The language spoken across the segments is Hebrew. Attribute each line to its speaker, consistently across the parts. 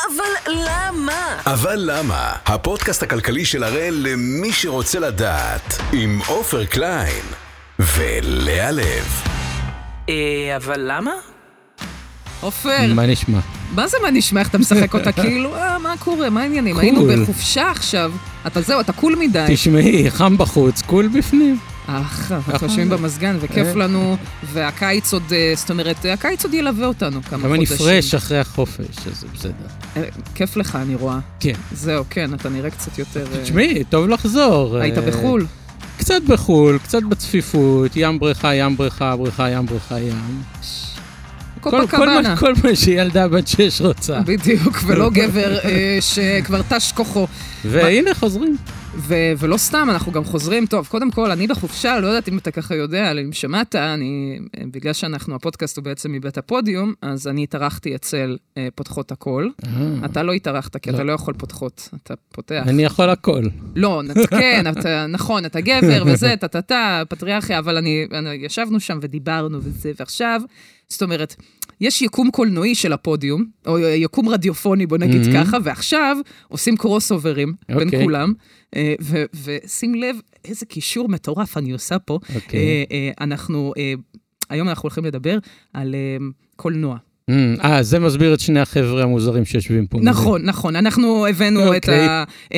Speaker 1: אבל למה?
Speaker 2: אבל למה? הפודקאסט הכלכלי של הראל למי שרוצה לדעת, עם עופר קליין ולאה לב.
Speaker 3: אה, אבל למה?
Speaker 4: עופר,
Speaker 5: מה נשמע?
Speaker 4: מה זה מה נשמע איך אתה משחק אותה? כאילו, אה, מה קורה? מה העניינים? היינו בחופשה עכשיו. אתה זהו, אתה קול מדי.
Speaker 5: תשמעי, חם בחוץ, קול בפנים.
Speaker 4: אך, אנחנו יושבים במזגן וכיף
Speaker 5: אה.
Speaker 4: לנו, והקיץ עוד, אה, זאת אומרת, הקיץ עוד ילווה אותנו כמה
Speaker 5: למה
Speaker 4: חודשים.
Speaker 5: אני פרש אחרי החופש, אז זה בסדר.
Speaker 4: אה, כיף לך, אני רואה.
Speaker 5: כן.
Speaker 4: זהו, כן, אתה נראה קצת יותר... אה,
Speaker 5: תשמעי, טוב לחזור.
Speaker 4: היית
Speaker 5: אה,
Speaker 4: בחו"ל?
Speaker 5: קצת בחו"ל, קצת בצפיפות, ים בריכה, ים בריכה, בריכה, ים בריכה, ים. כל- כל מה-
Speaker 4: קופקבנה.
Speaker 5: כל מה שילדה בת שש רוצה.
Speaker 4: בדיוק, ולא גבר אה, שכבר תש כוחו.
Speaker 5: והנה חוזרים.
Speaker 4: אה, ו- ולא סתם, אנחנו גם חוזרים. טוב, קודם כל, אני בחופשה, לא יודעת אם אתה ככה יודע, אבל אם שמעת, אני, בגלל שאנחנו, הפודקאסט הוא בעצם מבית הפודיום, אז אני התארחתי אצל אה, פותחות הכל. אתה לא התארחת, כי
Speaker 5: לא.
Speaker 4: אתה לא יכול פותחות, אתה פותח.
Speaker 5: אני יכול הכל.
Speaker 4: לא, אתה- כן, אתה, נכון, אתה גבר וזה, טה-טה-טה, פטריארכיה, אבל אני, אני, ישבנו שם ודיברנו וזה, ועכשיו, זאת אומרת, יש יקום קולנועי של הפודיום, או יקום רדיופוני, בוא נגיד
Speaker 5: Mhm.
Speaker 4: ככה, ועכשיו עושים קרוס אוברים בין
Speaker 5: אוקיי.
Speaker 4: כולם, אה, ו- ושים לב איזה קישור מטורף אני עושה פה.
Speaker 5: אוקיי.
Speaker 4: אה, אה, אנחנו, אה, היום אנחנו הולכים לדבר על אה, קולנוע.
Speaker 5: אמ, אה, זה מסביר את שני החבר'ה המוזרים שיושבים פה.
Speaker 4: נכון, נכון. אנחנו הבאנו את
Speaker 5: אוקיי.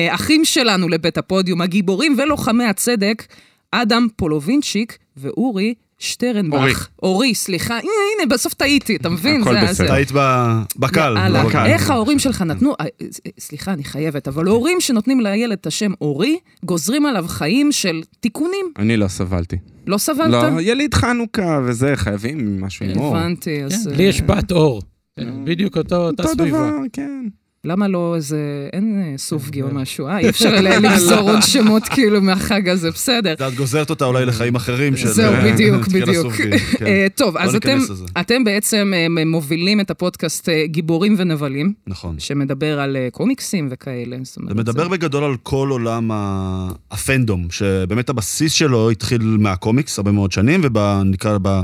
Speaker 4: האחים שלנו לבית הפודיום, הגיבורים ולוחמי הצדק, אדם פולובינצ'יק ואורי שטרנבך.
Speaker 6: אורי.
Speaker 4: אורי, סליחה. הנה, הנה, בסוף טעיתי, אתה מבין?
Speaker 6: הכל
Speaker 4: זה-
Speaker 6: בסדר.
Speaker 4: זה-
Speaker 7: היית ב- בקהל.
Speaker 4: יאללה,
Speaker 7: בקהל.
Speaker 4: איך ההורים שלך נתנו, אה, אה, סליחה, אני חייבת, אבל הורים שנותנים לילד את השם אורי, גוזרים עליו חיים של תיקונים.
Speaker 6: אני לא סבלתי.
Speaker 4: לא סבלת?
Speaker 6: לא, יליד חנוכה וזה, חייבים משהו עם אור.
Speaker 4: הבנתי, אז...
Speaker 5: כן,
Speaker 4: אה,
Speaker 5: לי יש בת אור. בדיוק אותו- אותה
Speaker 6: אותו
Speaker 5: סביבה.
Speaker 6: דבר, כן.
Speaker 4: למה לא איזה, אין אה, סופגי או משהו, אה, אי אפשר ל- לגזור עוד שמות כאילו מהחג הזה, בסדר.
Speaker 7: את גוזרת אותה אולי לחיים אחרים של...
Speaker 4: זהו,
Speaker 7: אה,
Speaker 4: בדיוק,
Speaker 7: תתחיל
Speaker 4: בדיוק.
Speaker 7: לסוף גיל, כן.
Speaker 4: אה, טוב,
Speaker 7: לא
Speaker 4: אז אתם,
Speaker 7: ניכנס לזה.
Speaker 4: אתם בעצם אה, מובילים את הפודקאסט אה, גיבורים ונבלים,
Speaker 7: נכון.
Speaker 4: שמדבר על אה, קומיקסים וכאלה. זאת אומרת,
Speaker 7: זה מדבר בגדול על כל עולם ה- הפנדום, שבאמת הבסיס שלו התחיל מהקומיקס הרבה מאוד שנים, ונקרא ב...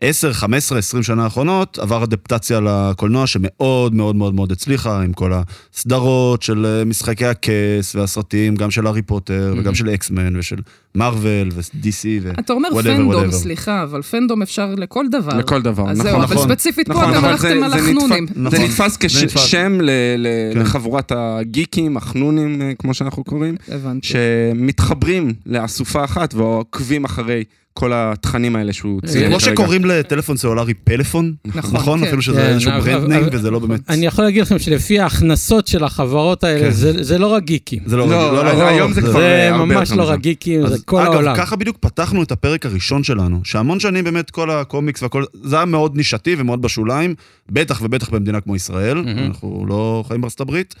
Speaker 7: 10, 15, 20 שנה האחרונות, עבר אדפטציה לקולנוע שמאוד מאוד מאוד מאוד הצליחה, עם כל הסדרות של אה, משחקי הכס והסרטים, גם של הארי פוטר וגם של אקסמן ושל מארוול ו-DC ו...
Speaker 4: Mm-hmm. אתה אומר
Speaker 7: whatever,
Speaker 4: פנדום,
Speaker 7: whatever.
Speaker 4: סליחה, אבל פנדום אפשר לכל דבר.
Speaker 6: לכל דבר,
Speaker 4: אז
Speaker 6: נכון,
Speaker 4: זהו, אבל
Speaker 7: נכון.
Speaker 4: ספציפית פה
Speaker 6: נכון,
Speaker 4: אתם
Speaker 6: אבל זה-
Speaker 4: הלכתם על
Speaker 6: זה נתפ-
Speaker 4: החנונים.
Speaker 7: נכון.
Speaker 6: זה נתפס
Speaker 7: זה נתפס.
Speaker 6: כשם ל- ל-
Speaker 7: כן.
Speaker 6: לחבורת הגיקים, החנונים, אה, כמו שאנחנו קוראים,
Speaker 4: הבנתי.
Speaker 6: שמתחברים לאסופה אחת ועוקבים אחרי כל התכנים האלה שהוא
Speaker 4: אה,
Speaker 5: זה
Speaker 7: זה
Speaker 6: ציין.
Speaker 7: כמו
Speaker 6: כרגע.
Speaker 7: שקוראים לטלפון סלולרי פלאפון,
Speaker 4: נכון,
Speaker 7: נכון?
Speaker 4: כן.
Speaker 7: אפילו שזה
Speaker 5: כן,
Speaker 7: איזשהו
Speaker 5: אבל-
Speaker 7: ברנד
Speaker 5: אבל-
Speaker 7: ניים וזה לא באמת...
Speaker 5: אני יכול להגיד לכם שלפי ההכנסות של החברות האלה,
Speaker 7: כן.
Speaker 5: זה- זה לא רק גיקים.
Speaker 7: זה לא...
Speaker 6: לא, אז היום זה כבר אה,
Speaker 5: זה
Speaker 6: הרבה
Speaker 5: ממש
Speaker 6: יותר
Speaker 5: לא
Speaker 6: מזה.
Speaker 5: רק גיקים,
Speaker 7: אז
Speaker 5: זה כל העולם.
Speaker 7: אגב, ככה בדיוק פתחנו את הפרק הראשון שלנו, שהמון שנים באמת כל הקומיקס והכל, זה היה מאוד נישתי ומאוד בשוליים, בטח ובטח במדינה כמו ישראל,
Speaker 5: מהמם.
Speaker 7: אנחנו לא חיים בארצות הברית,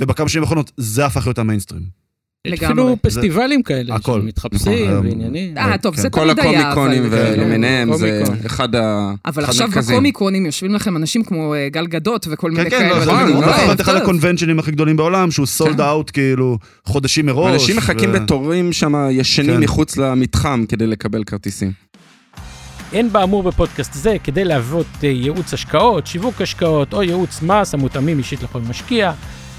Speaker 7: ובכמה שנים האחרונות זה הפך להיות המיינסטרים.
Speaker 5: יש
Speaker 6: כאילו
Speaker 4: לגמרי.
Speaker 5: אפילו פסטיבלים כאלה,
Speaker 7: הכל.
Speaker 5: שמתחפשים
Speaker 7: נכון,
Speaker 5: ועניינים.
Speaker 4: אה, טוב,
Speaker 7: כן.
Speaker 4: זה
Speaker 6: כל
Speaker 4: תמיד היה,
Speaker 6: הקומיקונים
Speaker 4: אבל- כן.
Speaker 5: ו-
Speaker 6: ולמיניהם, זה
Speaker 5: קומיקון.
Speaker 6: אחד ה...
Speaker 4: אבל
Speaker 6: אחד
Speaker 4: עכשיו
Speaker 6: המרכזיים.
Speaker 4: בקומיקונים יושבים לכם אנשים כמו אה, גל גדות וכל
Speaker 7: כן,
Speaker 4: מיני
Speaker 7: כן,
Speaker 4: כאלה.
Speaker 7: לא, זה
Speaker 6: נכון,
Speaker 7: בדיוק,
Speaker 4: אוקיי,
Speaker 7: זה הפך להיות אחד
Speaker 4: טוב.
Speaker 7: הקונבנצ'נים הכי גדולים בעולם, שהוא סולד אאוט כאילו חודשים מראש.
Speaker 6: אנשים מחכים
Speaker 7: ו-
Speaker 6: בתורים שם ישנים
Speaker 7: כן.
Speaker 6: מחוץ למתחם כדי לקבל כרטיסים.
Speaker 5: אין באמור בפודקאסט זה כדי להוות אה, ייעוץ השקעות, שיווק השקעות או ייעוץ מס המותאמים אישית לכל משקיע,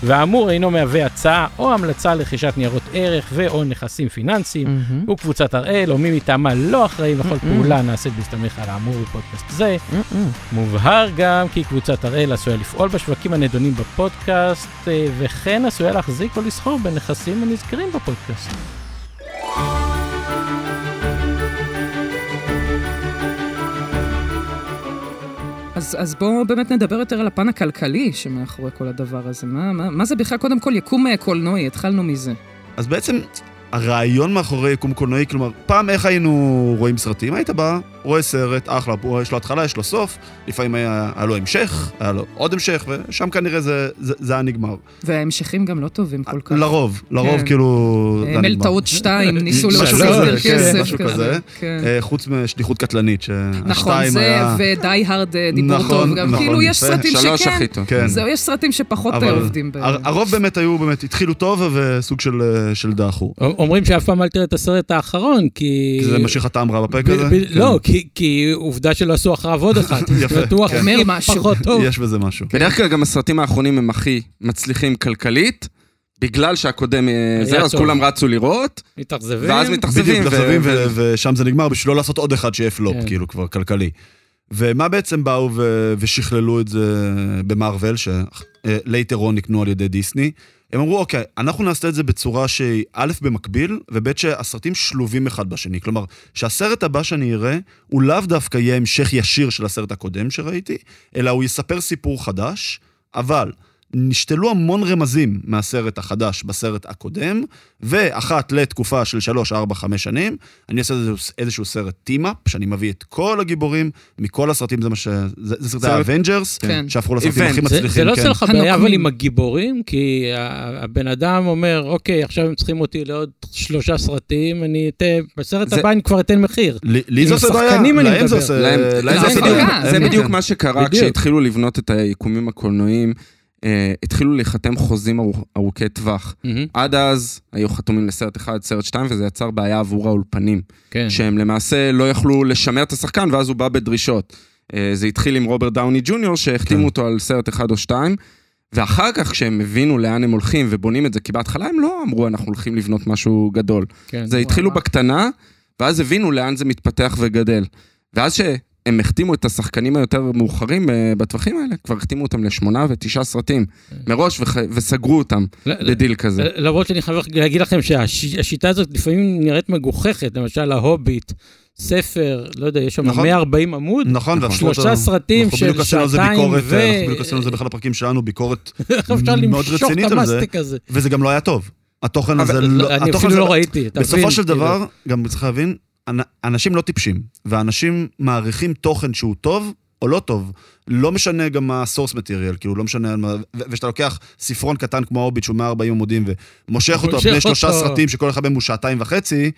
Speaker 5: והאמור אינו מהווה הצעה או המלצה לרכישת ניירות ערך ו/או נכסים פיננסיים,
Speaker 4: מהמם.
Speaker 5: וקבוצת הראל או מי מטעמה לא אחראים לכל
Speaker 4: Mm-mm.
Speaker 5: פעולה הנעשית בהסתמך על האמור בפודקאסט זה.
Speaker 4: Mm-mm.
Speaker 5: מובהר גם כי קבוצת הראל עשויה לפעול בשווקים הנדונים בפודקאסט, אה, וכן עשויה להחזיק או לסחור בנכסים הנזכרים בפודקאסט.
Speaker 4: אז, אז בואו באמת נדבר יותר על הפן הכלכלי שמאחורי כל הדבר הזה. מה, מה, מה זה בכלל, קודם כל, יקום אה, קולנועי, התחלנו מזה.
Speaker 7: אז בעצם הרעיון מאחורי יקום קולנועי, כלומר, פעם איך היינו רואים סרטים? היית בא, רואה סרט, אחלה, הוא- יש לו התחלה, יש לו סוף, לפעמים היה, היה לו המשך, היה לו עוד המשך, ושם כנראה זה, זה, זה היה נגמר.
Speaker 4: וההמשכים גם לא טובים כל כך.
Speaker 7: לרוב, לרוב
Speaker 4: כן.
Speaker 7: כאילו
Speaker 4: אה,
Speaker 7: זה היה נגמר.
Speaker 4: מלטעות 2, ניסו
Speaker 7: משהו
Speaker 4: לרשום
Speaker 7: כזה,
Speaker 4: יותר
Speaker 7: כן,
Speaker 4: כסף.
Speaker 7: משהו
Speaker 4: כזה.
Speaker 7: כזה.
Speaker 4: כן.
Speaker 7: אה, חוץ משליחות קטלנית,
Speaker 4: נכון,
Speaker 7: שהשתיים
Speaker 4: זה
Speaker 7: היה...
Speaker 4: ודי הרד אה, דיבור
Speaker 7: נכון,
Speaker 4: טוב גם.
Speaker 7: נכון,
Speaker 4: כאילו, יש
Speaker 7: יפה.
Speaker 4: סרטים
Speaker 6: שלוש
Speaker 4: שכן,
Speaker 6: הכי טוב.
Speaker 7: כן.
Speaker 4: זהו, יש סרטים שפחות אה,
Speaker 7: אבל
Speaker 4: עובדים בהם.
Speaker 7: הר- הרוב באמת היו, באמת התחילו טוב וסוג של, של דאחו.
Speaker 5: או-
Speaker 8: אומרים שאף פעם אל תראה את הסרט האחרון,
Speaker 4: אה,
Speaker 8: כי...
Speaker 7: זה מה שחתם רע בפרק
Speaker 8: ב-
Speaker 7: הזה? כן.
Speaker 8: ב- לא, כי- כי עובדה שלא עשו אחריו עוד אחת.
Speaker 7: יפה,
Speaker 8: בטוח
Speaker 7: כן.
Speaker 8: אומר
Speaker 4: אומר
Speaker 8: משהו.
Speaker 4: משהו.
Speaker 8: פחות טוב.
Speaker 7: יש בזה משהו.
Speaker 6: בדרך כלל גם הסרטים האחרונים הם הכי מצליחים כלכלית, בגלל שהקודם אה,
Speaker 8: היה
Speaker 6: זה, אז
Speaker 8: טוב.
Speaker 6: כולם רצו לראות,
Speaker 8: מתאכזבים.
Speaker 6: ואז
Speaker 7: בדיוק,
Speaker 6: מתאכזבים. ו-
Speaker 7: מתאכזבים,
Speaker 6: ו-
Speaker 7: ו- ושם זה נגמר, בשביל לא לעשות עוד אחד שיהיה פלופ,
Speaker 8: כן.
Speaker 7: כאילו, כבר כלכלי. ומה בעצם באו ו- ושכללו את זה במארוול, שלייטרון נקנו על ידי דיסני? הם אמרו, אוקיי, אנחנו נעשה את זה בצורה שהיא א', במקביל, וב', שהסרטים שלובים אחד בשני. כלומר, שהסרט הבא שאני אראה, הוא לאו דווקא יהיה המשך ישיר של הסרט הקודם שראיתי, אלא הוא יספר סיפור חדש, אבל נשתלו המון רמזים מהסרט החדש בסרט הקודם, ואחת לתקופה של 3, 4, 5 שנים, אני אעשה איזשהו- איזשהו סרט טים-אפ, שאני מביא את כל הגיבורים מכל הסרטים, זה מה ש... זה זה סרטי
Speaker 6: סרט-
Speaker 7: האבנג'רס,
Speaker 4: כן.
Speaker 7: שהפכו לסרטים
Speaker 6: Event.
Speaker 7: הכי
Speaker 8: זה-
Speaker 7: מצליחים.
Speaker 8: זה לא עושה
Speaker 7: כן.
Speaker 8: לך בעיה, אבל
Speaker 4: הנוקמים.
Speaker 8: עם הגיבורים, כי ה- הבן אדם אומר, אוקיי, עכשיו הם צריכים אותי לעוד שלושה סרטים, אני אתן, בסרט
Speaker 6: זה-
Speaker 8: הבא אני כבר אתן מחיר.
Speaker 7: לי לי
Speaker 8: עם
Speaker 7: זה עושה בעיה,
Speaker 8: השחקנים אני
Speaker 7: להם זה
Speaker 8: מדבר.
Speaker 7: עושה...
Speaker 6: להם-
Speaker 7: להם זה
Speaker 4: זה
Speaker 7: עושה
Speaker 4: בדיוק-
Speaker 7: בעיה.
Speaker 6: זה
Speaker 4: כן.
Speaker 6: בדיוק מה שקרה
Speaker 8: בדיוק.
Speaker 6: כשהתחילו לבנות את היקומים הקולנועיים. אה, התחילו להיחתם חוזים ארוכ- ארוכי טווח.
Speaker 8: מהמם.
Speaker 6: עד אז היו חתומים לסרט אחד, סרט שתיים, וזה יצר בעיה עבור האולפנים.
Speaker 8: כן.
Speaker 6: שהם למעשה לא יכלו לשמר את השחקן, ואז הוא בא בדרישות. אה, זה התחיל עם רוברט דאוני ג'וניור, שהחתימו
Speaker 7: כן.
Speaker 6: אותו על סרט אחד או שתיים, ואחר כך כשהם הבינו לאן הם הולכים ובונים את זה, כי בהתחלה הם לא אמרו, אנחנו הולכים לבנות משהו גדול.
Speaker 8: כן.
Speaker 6: זה התחילו בקטנה, ואז הבינו לאן זה מתפתח וגדל. ואז שהם החתימו את השחקנים היותר מאוחרים אה, בטווחים האלה, כבר החתימו אותם לשמונה ותשעה סרטים מראש, וח- וסגרו אותם
Speaker 8: לא- לא-
Speaker 6: לדיל כזה.
Speaker 5: אה,
Speaker 8: למרות שאני חייב להגיד לכם שהשיטה הזאת לפעמים נראית מגוחכת, למשל ההוביט, ספר, לא יודע, יש שם
Speaker 7: נכון.
Speaker 8: 140 עמוד,
Speaker 7: נכון, ואנחנו-
Speaker 8: שלושה סרטים
Speaker 7: אנחנו בדיוק
Speaker 8: של
Speaker 7: עשינו על זה
Speaker 8: שעתיים
Speaker 7: ביקורת,
Speaker 8: ו-
Speaker 7: אנחנו בדיוק עשינו על זה באחד הפרקים שלנו, ביקורת,
Speaker 8: איך אפשר
Speaker 7: מאוד
Speaker 8: למשוך
Speaker 7: רצינית
Speaker 8: את
Speaker 7: על זה.
Speaker 8: המסטיק הזה?
Speaker 7: וזה גם לא היה טוב. התוכן הזה
Speaker 8: אבל
Speaker 7: לא...
Speaker 8: אני
Speaker 7: התוכן
Speaker 8: אפילו
Speaker 7: הזה-
Speaker 8: לא ראיתי, אתה מבין?
Speaker 7: בסופו של
Speaker 8: כאילו.
Speaker 7: דבר, גם צריך להבין, אנ- אנשים לא טיפשים, ואנשים מעריכים תוכן שהוא טוב או לא טוב. לא משנה גם מה הסורס מטריאל, כאילו, לא משנה... על מה- ו- וכשאתה לוקח ספרון קטן כמו הוביט, שהוא 140 עמודים, ומושך אותו על
Speaker 8: מושך
Speaker 7: פני שלושה
Speaker 8: אותו.
Speaker 7: סרטים, שכל אחד מהם הוא שעתיים וחצי,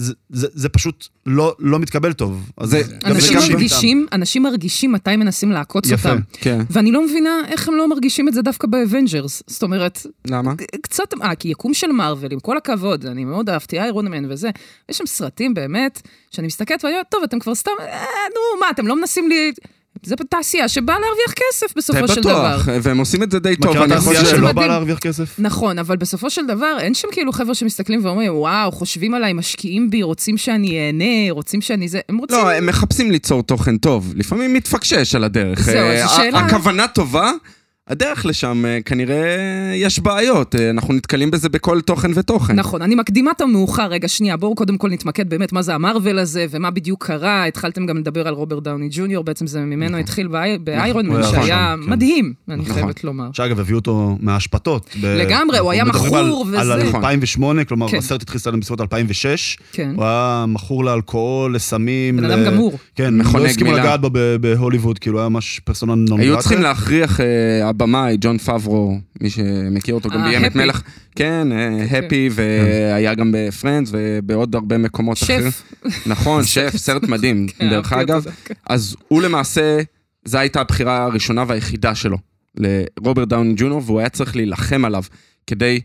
Speaker 7: זה- זה זה פשוט לא לא מתקבל טוב. אז
Speaker 6: זה-
Speaker 7: גם
Speaker 6: זה
Speaker 4: אנשים
Speaker 6: גם-
Speaker 4: מרגישים, אנשים מרגישים מתי מנסים לעקוץ
Speaker 7: יפה.
Speaker 4: אותם.
Speaker 6: כן,
Speaker 4: ואני לא מבינה איך הם לא מרגישים את זה דווקא באבנג'רס. זאת אומרת,
Speaker 6: למה?
Speaker 4: קצת, אה, כי יקום של מארוול, עם כל הכבוד, אני מאוד אהבתי איירון מן וזה, יש שם סרטים באמת, שאני מסתכלת ואני אומרת, טוב, אתם כבר סתם, אה, נו, מה, אתם לא מנסים לי... זה תעשייה שבאה להרוויח כסף בסופו של דבר.
Speaker 6: בטוח, והם עושים את זה די טוב.
Speaker 7: מכירה את
Speaker 6: אני
Speaker 7: העשייה
Speaker 6: חושב.
Speaker 4: של
Speaker 7: שלא בא
Speaker 4: מדהים.
Speaker 7: להרוויח כסף?
Speaker 4: נכון, אבל בסופו של דבר, אין שם כאילו חבר'ה שמסתכלים ואומרים, וואו, חושבים עליי, משקיעים בי, רוצים שאני אהנה, רוצים שאני זה, הם רוצים...
Speaker 6: לא, הם מחפשים ליצור תוכן טוב, לפעמים מתפקשש על הדרך.
Speaker 4: זהו,
Speaker 6: אה,
Speaker 4: אז
Speaker 6: ה-
Speaker 4: השאלה-
Speaker 6: הכוונה טובה, הדרך לשם אה, כנראה יש בעיות, אה, אנחנו נתקלים בזה בכל תוכן ותוכן.
Speaker 4: נכון, אני מקדימה את המאוחר. רגע, שנייה, בואו קודם כל נתמקד באמת מה זה המרוויל הזה ומה בדיוק קרה. התחלתם גם לדבר על רוברט דאוני ג'וניור, בעצם זה ממנו התחיל באי- באיירון מן,
Speaker 7: נכון,
Speaker 4: שהיה
Speaker 7: נכון, כן.
Speaker 4: מדהים, אני
Speaker 6: נכון.
Speaker 4: חייבת לומר.
Speaker 7: שאגב, הביאו אותו מהאשפתות. ב-
Speaker 4: לגמרי, הוא היה
Speaker 7: אנחנו מדברים
Speaker 4: מכור
Speaker 7: על- על
Speaker 4: וזה. נכון.
Speaker 7: 2008, כלומר,
Speaker 4: כן.
Speaker 7: הסרט התחיל לצלם בסביבות 2006.
Speaker 4: כן.
Speaker 7: הוא היה מכור לאלכוהול, לסמים.
Speaker 4: בן
Speaker 7: ל-
Speaker 4: אדם גמור.
Speaker 7: כן,
Speaker 6: מכונה
Speaker 7: לא הסכימו
Speaker 6: גמילה.
Speaker 7: לגעת בו ב- בהוליווד, כאילו, היה ממש פרסונה נונגרטה.
Speaker 6: היו צריכים להכריח אה, הבמאי, ג'ון פאברו, מי שמכיר אותו, גם
Speaker 4: אה,
Speaker 6: ביים את
Speaker 4: הפי.
Speaker 6: מלח... כן,
Speaker 4: כן.
Speaker 6: הפי, והיה גם בפרנדס ובעוד הרבה מקומות אחרים.
Speaker 4: שף.
Speaker 6: נכון, שף, סרט מדהים,
Speaker 4: כן,
Speaker 6: דרך
Speaker 4: אהבתי
Speaker 6: אגב.
Speaker 4: אותו דווקא.
Speaker 6: אז הוא למעשה, זו הייתה הבחירה הראשונה והיחידה שלו, לרוברט דאוני ג'וניור, והוא היה צריך להילחם עליו כדי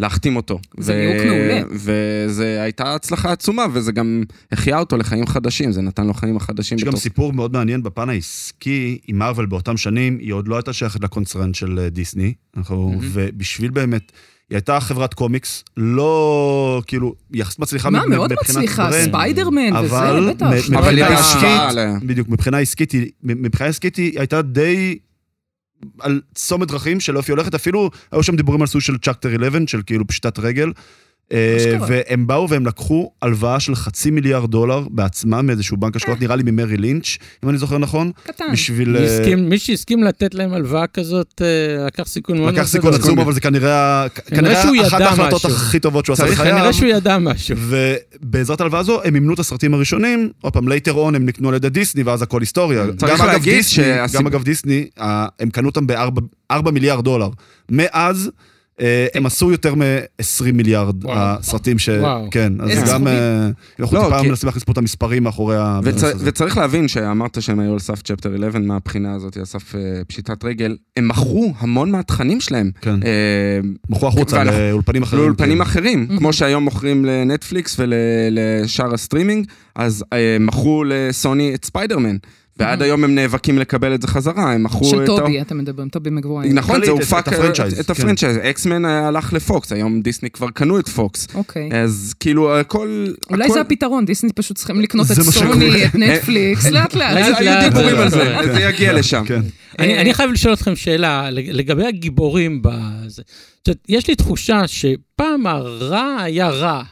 Speaker 6: להחתים אותו.
Speaker 4: זה ליהוק מעולה.
Speaker 6: וזו הייתה הצלחה עצומה, וזה גם החיה אותו לחיים חדשים, זה נתן לו חיים החדשים.
Speaker 7: יש גם
Speaker 6: בתור-
Speaker 7: סיפור מאוד מעניין בפן העסקי עם מארוול באותם שנים, היא עוד לא הייתה שייכת לקונצרן של אה, דיסני, אנחנו, ובשביל באמת, היא הייתה חברת קומיקס, לא, כאילו, יחסית מצליחה
Speaker 4: מה,
Speaker 7: מבחינת
Speaker 4: מאוד מצליחה,
Speaker 7: ברנד.
Speaker 4: ספיידרמן
Speaker 7: אבל
Speaker 4: וזה, בטח.
Speaker 7: מ-
Speaker 6: אבל היא
Speaker 7: מבחינה
Speaker 6: בהשוואה
Speaker 7: עסקית,
Speaker 6: עליה.
Speaker 7: בדיוק, מבחינה עסקית, היא- מבחינה עסקית היא הייתה די על צומת דרכים של אופי הולכת, אפילו היו שם דיבורים על סוג של צ'קטר 11, של כאילו פשיטת רגל. אה,
Speaker 4: שקרה.
Speaker 7: והם באו והם לקחו הלוואה של חצי מיליארד דולר בעצמם מאיזשהו בנק השקעות, נראה לי ממרי לינץ', אם אני זוכר נכון,
Speaker 4: קטן.
Speaker 7: בשביל...
Speaker 8: מי
Speaker 7: אה,
Speaker 8: הסכים- מי שהסכים לתת להם הלוואה כזאת, אה, לקח סיכון מאוד
Speaker 7: לקח
Speaker 8: מאוד
Speaker 7: סיכון
Speaker 8: גדול.
Speaker 7: עצום, אבל זה כנראה כנראה
Speaker 8: שהוא ידע
Speaker 7: אחת ההחלטות
Speaker 8: משהו.
Speaker 7: הכי טובות שהוא עשה
Speaker 6: צריך-
Speaker 7: בחייו.
Speaker 8: כנראה שהוא ידע משהו.
Speaker 6: כן.
Speaker 7: ובעזרת הלוואה זו הם מימנו את הסרטים הראשונים, עוד פעם, later on הם נקנו על ידי דיסני ואז הכל היסטוריה.
Speaker 6: צריך
Speaker 7: גם אגב
Speaker 6: להגיד
Speaker 7: דיסני-
Speaker 6: שהסיב-
Speaker 7: גם אגב דיסני, ה- הם קנו אותם ב-4 מיליארד דולר. מאז אה, הם עשו יותר מ-20 מיליארד
Speaker 8: וואו.
Speaker 7: הסרטים ש...
Speaker 8: וואו.
Speaker 7: כן, אז
Speaker 4: איזה
Speaker 7: זה גם...
Speaker 4: סכומים.
Speaker 7: אה, אנחנו
Speaker 6: לא,
Speaker 7: טיפה
Speaker 6: כי-
Speaker 7: מנסים להכניס פה את המספרים מאחורי ה...
Speaker 6: וצ... וצריך להבין שאמרת שהם היו על סף צ'פטר 11 מהבחינה הזאת, על סף אה, פשיטת רגל. הם מכרו המון מהתכנים שלהם.
Speaker 7: כן.
Speaker 6: אה,
Speaker 7: מכרו החוצה
Speaker 6: ואנחנו-
Speaker 7: לאולפנים אה, אחרים.
Speaker 4: כן.
Speaker 7: כן.
Speaker 6: לאולפנים אחרים, כמו שהיום מוכרים לנטפליקס ולשאר הסטרימינג, אז אה, מכרו לסוני את ספיידרמן, ועד היום הם נאבקים לקבל את זה חזרה, הם מכרו את...
Speaker 4: של
Speaker 6: ה-
Speaker 4: טובי, אה, כן. אתם מדברים, טובי מגווייר.
Speaker 6: נכון, זה
Speaker 7: כללית, את-
Speaker 6: הופק...
Speaker 7: את הפרנצ'ייז,
Speaker 6: את
Speaker 7: כן.
Speaker 6: הפרנצ'ייז, אקסמן אה, הלך לפוקס, היום דיסני כבר קנו את פוקס.
Speaker 4: אוקיי.
Speaker 6: אז כאילו הכל...
Speaker 4: אולי
Speaker 6: הכל-
Speaker 4: זה הפתרון, דיסני פשוט צריכים לקנות את
Speaker 7: זה מה
Speaker 4: סוני,
Speaker 7: שקורה.
Speaker 4: את נטפליקס, לאט
Speaker 6: היו
Speaker 4: לאט.
Speaker 6: היו דיבורים על זה,
Speaker 7: כן.
Speaker 6: זה יגיע לשם.
Speaker 7: כן.
Speaker 5: אני, אני חייב לשאול אתכם שאלה לג- לגבי הגיבורים בזה. זאת אומרת, יש לי תחושה שפעם הרע היה רע,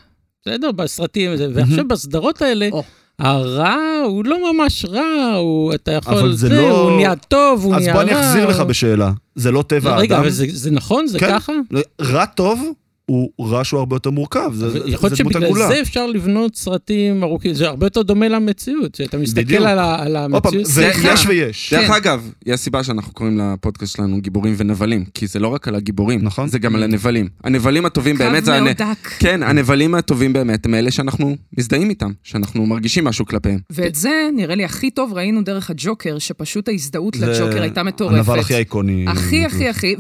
Speaker 5: בסדר? בסרטים, וזה, ועכשיו בסדרות האלה,
Speaker 4: או.
Speaker 5: הרע הוא לא ממש רע, הוא, אתה יכול,
Speaker 7: אבל
Speaker 5: זה,
Speaker 7: זה לא-
Speaker 5: הוא נהיה טוב, הוא
Speaker 7: אז
Speaker 5: נהיה רע.
Speaker 7: בוא אני אחזיר לך בשאלה. זה לא טבע
Speaker 5: לא,
Speaker 7: האדם.
Speaker 5: רגע, אבל זה, זה נכון? זה
Speaker 7: כן.
Speaker 5: ככה?
Speaker 7: רע טוב הוא רע שהוא הרבה יותר מורכב. זה זה-
Speaker 5: אבל יכול להיות
Speaker 7: זה דמות
Speaker 5: שבגלל
Speaker 7: עגולה.
Speaker 5: זה אפשר לבנות סרטים ארוכים, זה הרבה יותר דומה למציאות, שאתה
Speaker 7: בדיוק.
Speaker 5: מסתכל על, ה, על
Speaker 7: עוד פעם,
Speaker 5: המציאות.
Speaker 7: זה
Speaker 6: זה-
Speaker 7: יש ויש.
Speaker 4: כן,
Speaker 6: דרך אגב, יש סיבה שאנחנו קוראים לפודקאסט שלנו גיבורים ונבלים, כי זה לא רק על הגיבורים,
Speaker 7: נכון.
Speaker 6: זה גם על הנבלים. הנבלים הטובים
Speaker 4: קו
Speaker 6: באמת זה... הנ-
Speaker 4: מהודק.
Speaker 6: כן, הנבלים הטובים באמת הם אלה שאנחנו מזדהים איתם, שאנחנו מרגישים משהו כלפיהם.
Speaker 4: ואת זה, נראה לי, הכי טוב ראינו דרך הג'וקר, שפשוט ההזדהות
Speaker 7: זה
Speaker 4: לג'וקר הייתה מטורפת.
Speaker 7: הנבל הכי איקוני.
Speaker 4: הכי הכי הכי,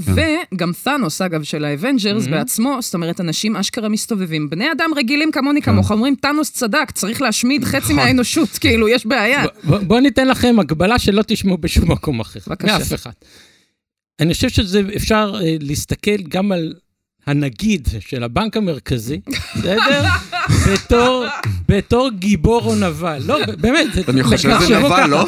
Speaker 4: וגם תאנוס, אגב, של
Speaker 5: Mm-hmm.
Speaker 4: האבנג'רס בעצמו, זאת אומרת, אנשים אשכרה מסתובבים. בני אדם רגילים כמוני כמוך אומרים, תאנוס צדק, צריך להשמיד חצי מהאנושות, כאילו, יש בעיה.
Speaker 5: בואו בוא ניתן לכם הגבלה שלא תשמעו בשום מקום אחר.
Speaker 4: בבקשה.
Speaker 5: מאף אחד. אני חושב שזה אפשר אה, להסתכל גם על הנגיד של הבנק המרכזי, בסדר? בתור, בתור גיבור או נבל. לא, באמת.
Speaker 6: אני חושב שזה
Speaker 5: תחשבו
Speaker 6: נבל,
Speaker 5: ככה.
Speaker 6: לא?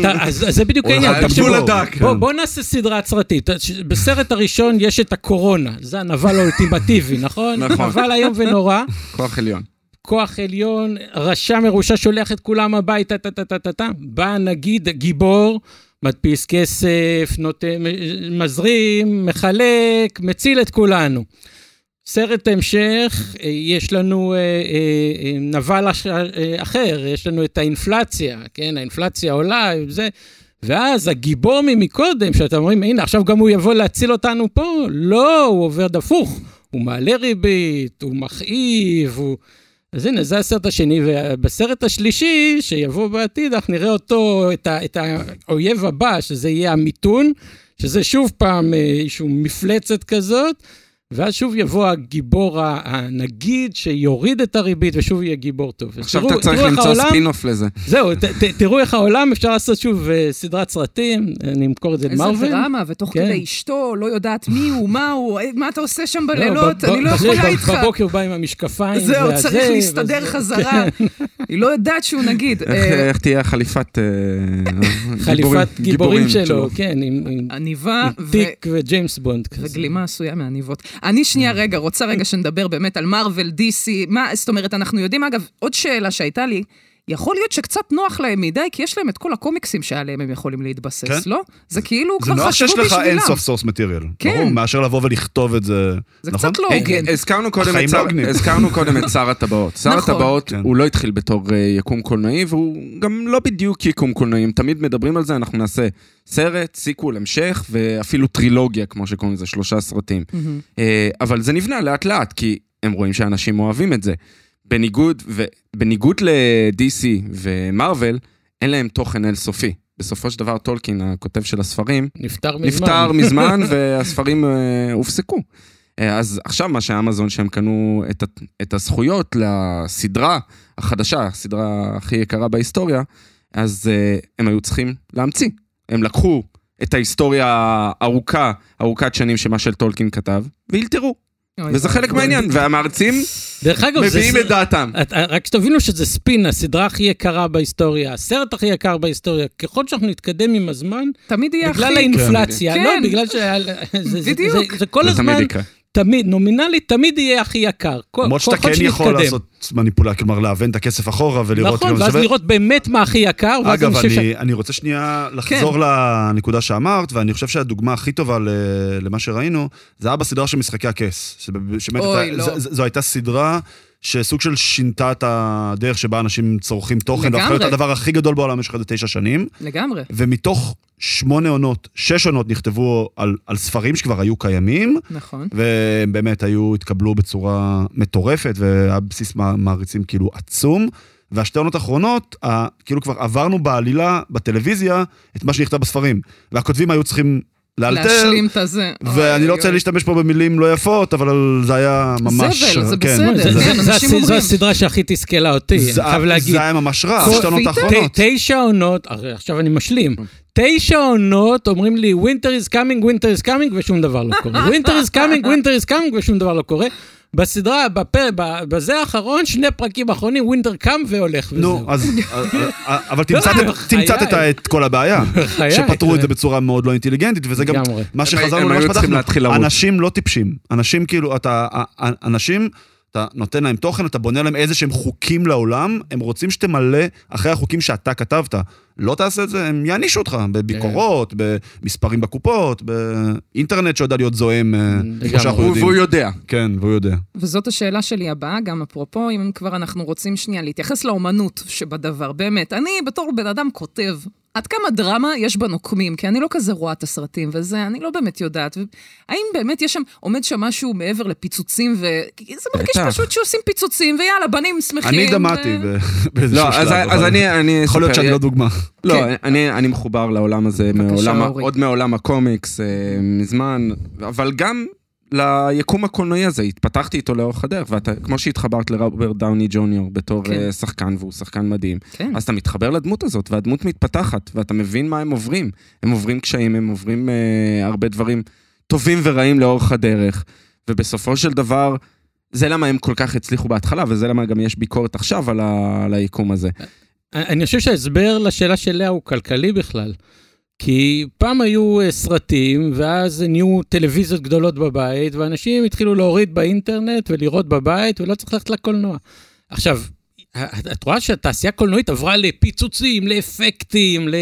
Speaker 5: אתה- אז אז זה בדיוק
Speaker 7: הוא
Speaker 5: העניין.
Speaker 7: היה
Speaker 5: תחשבו,
Speaker 7: גבול הדק,
Speaker 5: בוא-
Speaker 7: כן.
Speaker 5: בוא נעשה סדרת סרטים. ת- ש- בסרט הראשון יש את הקורונה, זה הנבל האולטימטיבי, נכון?
Speaker 6: נכון.
Speaker 5: נבל איום ונורא.
Speaker 6: כוח עליון.
Speaker 5: כוח עליון, רשע מרושע שולח את כולם הביתה, טה טה טה טה טה, בא נגיד גיבור, מדפיס כסף, נותן, מזרים, מחלק, מציל את כולנו. סרט המשך, אה, יש לנו אה, אה, אה, נבל אש- אה, אחר, יש לנו את האינפלציה, כן, האינפלציה עולה, זה, ואז הגיבור ממקודם, שאתם אומרים, הנה, עכשיו גם הוא יבוא להציל אותנו פה, לא, הוא עובר דפוך, הוא מעלה ריבית, הוא מכאיב, הוא... אז הנה, זה הסרט השני, ובסרט השלישי, שיבוא בעתיד, אנחנו נראה אותו, את, ה, את האויב הבא, שזה יהיה המיתון, שזה שוב פעם אה, איזשהו מפלצת כזאת, ואז שוב יבוא הגיבור ה- הנגיד שיוריד את הריבית, ושוב יהיה גיבור טוב. אז
Speaker 6: עכשיו
Speaker 5: תראו-
Speaker 6: אתה צריך
Speaker 5: תראו איך
Speaker 6: למצוא
Speaker 5: העולם- אה,
Speaker 6: ספינוף לזה.
Speaker 5: זהו, ת, ת, תראו איך העולם, אפשר לעשות שוב אה, סדרת סרטים, אני אמכור את זה
Speaker 4: איזה
Speaker 5: למרוויל.
Speaker 4: דרמה, ותוך
Speaker 5: כן.
Speaker 4: כדי אשתו, לא יודעת מי הוא, מה הוא, אה, מה אתה עושה שם
Speaker 5: לא,
Speaker 4: בלילות,
Speaker 5: ב- ב-
Speaker 4: אני לא
Speaker 5: זה,
Speaker 4: יכולה
Speaker 5: ב-
Speaker 4: איתך.
Speaker 5: בבוקר הוא בא עם המשקפיים.
Speaker 4: זהו,
Speaker 5: והזה,
Speaker 4: צריך להסתדר
Speaker 5: וזה- כן.
Speaker 4: חזרה. היא לא יודעת שהוא נגיד.
Speaker 6: איך-
Speaker 4: אה,
Speaker 6: איך תהיה חליפת... אה,
Speaker 5: חליפת
Speaker 6: גיבורים-
Speaker 5: גיבורים שלו, כן, עם עם-
Speaker 4: עניבה
Speaker 5: עם
Speaker 4: ו...
Speaker 5: טיק וג'יימס בונד כזה.
Speaker 4: וגלימה עשויה מעניבות. אני שנייה
Speaker 7: כן.
Speaker 4: רגע, רוצה רגע שנדבר באמת על מארוול, דיסי, מה, זאת אומרת, אנחנו יודעים, אגב, עוד שאלה שהייתה לי, יכול להיות שקצת נוח להם מדי, כי יש להם את כל הקומיקסים שעליהם הם יכולים להתבסס,
Speaker 7: כן.
Speaker 4: לא? זה כאילו
Speaker 7: זה
Speaker 4: כבר
Speaker 7: נוח
Speaker 4: חשבו
Speaker 7: שיש לך
Speaker 4: בשבילם.
Speaker 7: אינסוף סורס מטריאל.
Speaker 4: כן.
Speaker 7: ברור, מאשר לבוא ולכתוב את זה.
Speaker 4: זה
Speaker 7: נכון?
Speaker 4: קצת לא
Speaker 6: אה,
Speaker 5: כן.
Speaker 4: הוגן.
Speaker 6: הזכרנו קודם
Speaker 7: החיים
Speaker 6: את
Speaker 7: לא
Speaker 6: שר-
Speaker 7: הוגנים.
Speaker 6: הזכרנו קודם את שר הטבעות. שר
Speaker 4: נכון.
Speaker 6: הטבעות,
Speaker 7: כן.
Speaker 6: הוא לא התחיל בתור אה, יקום קולנועי, והוא גם לא בדיוק יקום קולנועי. הם תמיד מדברים על זה, אנחנו נעשה סרט, סיקוול, המשך, ואפילו טרילוגיה, כמו שקוראים לזה, שלושה סרטים.
Speaker 4: מהמם.
Speaker 6: אה, אבל זה נבנה לאט-לאט, כי הם רואים שאנשים אוהבים את זה. בניגוד, ו... בניגוד ל-DC ומרוויל, אין להם תוכן אינסופי. בסופו של דבר טולקין, הכותב של הספרים,
Speaker 5: נפטר מזמן.
Speaker 6: נפטר מזמן והספרים אה, הופסקו. אה, אז עכשיו מה שאמזון, שהם קנו את, ה- את הזכויות לסדרה החדשה, הסדרה הכי יקרה בהיסטוריה, אז אה, הם היו צריכים להמציא. הם לקחו את ההיסטוריה הארוכה, ארוכת שנים שמה של טולקין כתב, ואילתרו.
Speaker 4: אוי,
Speaker 6: וזה
Speaker 4: אוי,
Speaker 6: חלק
Speaker 4: אוי.
Speaker 6: מהעניין, והמערצים
Speaker 5: דרך אגב, זה-
Speaker 6: מביאים את דעתם.
Speaker 5: את- אה, רק שתבינו שזה ספין, הסדרה הכי יקרה בהיסטוריה, הסרט הכי יקר בהיסטוריה. ככל שאנחנו נתקדם עם הזמן,
Speaker 4: תמיד יהיה הכי...
Speaker 5: בגלל האינפלציה,
Speaker 4: כן.
Speaker 5: לא, בגלל ש... זה- זה-
Speaker 4: בדיוק.
Speaker 5: זה- זה כל
Speaker 6: זה תמיד
Speaker 5: הזמן,
Speaker 6: יקרה.
Speaker 5: תמיד, נומינלית, תמיד יהיה הכי יקר. כל-
Speaker 7: למרות
Speaker 5: כל
Speaker 7: שאתה
Speaker 5: אחד
Speaker 7: כן יכול
Speaker 5: שנתקדם.
Speaker 7: לעשות מניפולציה, כלומר להוון את הכסף אחורה ולראות...
Speaker 5: נכון,
Speaker 7: כמה זה
Speaker 5: ואז
Speaker 7: שווה.
Speaker 5: לראות באמת מה הכי יקר, ואז
Speaker 7: אגב,
Speaker 5: חושב
Speaker 7: אני, אני רוצה שנייה לחזור כן. לנקודה שאמרת, ואני חושב שהדוגמה הכי טובה ל, למה שראינו, זה היה בסדרה של משחקי הכס. שבאמת
Speaker 4: אוי,
Speaker 7: הייתה-
Speaker 4: לא.
Speaker 7: ז, ז, זו הייתה סדרה שסוג של שינתה את הדרך שבה אנשים צורכים תוכן, והפכה להיות
Speaker 4: לגמרי.
Speaker 7: הדבר הכי גדול בעולם במשך איזה תשע שנים.
Speaker 4: לגמרי.
Speaker 7: ומתוך שמונה עונות, שש עונות נכתבו על, על ספרים שכבר היו קיימים,
Speaker 4: נכון.
Speaker 7: והם באמת היו, התקבלו בצורה מטורפת, והיה בסיס מע- מעריצים כאילו עצום. והשתי עונות האחרונות, ה- כאילו כבר עברנו בעלילה, בטלוויזיה, את מה שנכתב בספרים. והכותבים היו צריכים לאלתר,
Speaker 4: להשלים את הזה.
Speaker 7: ואני
Speaker 4: אוי,
Speaker 7: לא רוצה
Speaker 4: אוי.
Speaker 7: להשתמש פה במילים לא יפות, אבל זה היה ממש...
Speaker 4: זבל, זה
Speaker 7: כן,
Speaker 4: בסדר,
Speaker 5: זה-
Speaker 7: זה-
Speaker 5: זה-
Speaker 4: כן,
Speaker 5: זה
Speaker 4: אנשים
Speaker 5: הסד- זו
Speaker 4: אומרים.
Speaker 5: הסדרה שהכי תסכלה אותי, אני
Speaker 7: זה
Speaker 5: חייב להגיד.
Speaker 7: זה היה ממש רע,
Speaker 5: כל-
Speaker 7: שתי עונות
Speaker 4: פיתה?
Speaker 7: האחרונות.
Speaker 5: ת- תשע עונות, הרי עכשיו אני משלים, תשע עונות אומרים לי winter is coming, winter is coming ושום דבר לא קורה. winter is coming, winter is coming ושום דבר לא קורה. בסדרה, בפר- ב- בזה האחרון, שני פרקים אחרונים, winter קם והולך.
Speaker 7: נו,
Speaker 5: וזהו.
Speaker 7: אז... אבל תמצת-
Speaker 5: לא,
Speaker 7: תמצת את ה-
Speaker 5: חיי.
Speaker 7: את כל הבעיה.
Speaker 5: בחיי.
Speaker 7: שפתרו את זה בצורה מאוד לא אינטליגנטית, וזה גם
Speaker 5: לגמרי.
Speaker 7: מה שחזרנו
Speaker 6: הם
Speaker 7: למה
Speaker 6: היו צריכים להתחיל
Speaker 7: שפתחנו.
Speaker 6: לרוץ.
Speaker 7: אנשים לא טיפשים. אנשים כאילו, אתה... ה- ה- אנשים... אתה נותן להם תוכן, אתה בונה להם איזה שהם חוקים לעולם, הם רוצים שתמלא אחרי החוקים שאתה כתבת. לא תעשה את זה, הם יענישו אותך בביקורות,
Speaker 5: כן.
Speaker 7: במספרים בקופות, באינטרנט שיודע להיות זועם, אה, כמו
Speaker 5: לגמרי.
Speaker 7: שאנחנו
Speaker 6: הוא-
Speaker 7: יודעים.
Speaker 6: והוא יודע.
Speaker 7: כן, והוא יודע.
Speaker 4: וזאת השאלה שלי הבאה, גם אפרופו, אם כבר אנחנו רוצים שנייה להתייחס לאומנות שבדבר, באמת. אני בתור בן אדם כותב, עד כמה דרמה יש בנוקמים, כי אני לא כזה רואה את הסרטים וזה, אני לא באמת יודעת. ו- האם באמת יש שם, עומד שם משהו מעבר לפיצוצים, ו... כי זה מרגיש
Speaker 6: בטח.
Speaker 4: פשוט שעושים פיצוצים, ויאללה, בנים שמחים. אה,
Speaker 7: אני
Speaker 4: ו-
Speaker 7: דמעתי ב- באיזשהו
Speaker 6: לא,
Speaker 7: שלב.
Speaker 6: אז- אז
Speaker 7: אבל-
Speaker 6: אני אני
Speaker 7: יכול להיות
Speaker 6: אספר.
Speaker 7: שאני לא דוגמה.
Speaker 6: לא,
Speaker 4: כן.
Speaker 6: אני, אני מחובר לעולם הזה,
Speaker 4: בבקשה,
Speaker 6: מעולם, ה-
Speaker 4: אורי.
Speaker 6: עוד מעולם הקומיקס, אה, מזמן, אבל גם ליקום הקולנועי הזה, התפתחתי איתו לאורך הדרך, ואתה, כמו שהתחברת לרוברט דאוני ג'וניור בתור
Speaker 4: כן.
Speaker 6: כן. שחקן, והוא שחקן מדהים,
Speaker 4: כן.
Speaker 6: אז אתה מתחבר לדמות הזאת, והדמות מתפתחת, ואתה מבין מה הם עוברים. הם עוברים קשיים, הם עוברים אה, הרבה דברים טובים ורעים לאורך הדרך, ובסופו של דבר, זה למה הם כל כך הצליחו בהתחלה, וזה למה גם יש ביקורת עכשיו על, ה, על היקום הזה.
Speaker 5: אני חושב שההסבר לשאלה של לאה הוא כלכלי בכלל. כי פעם היו אה, סרטים, ואז נהיו טלוויזיות גדולות בבית, ואנשים התחילו להוריד באינטרנט ולראות בבית, ולא צריך ללכת לקולנוע. עכשיו, ה- את רואה שהתעשייה הקולנועית עברה לפיצוצים, לאפקטים, ל...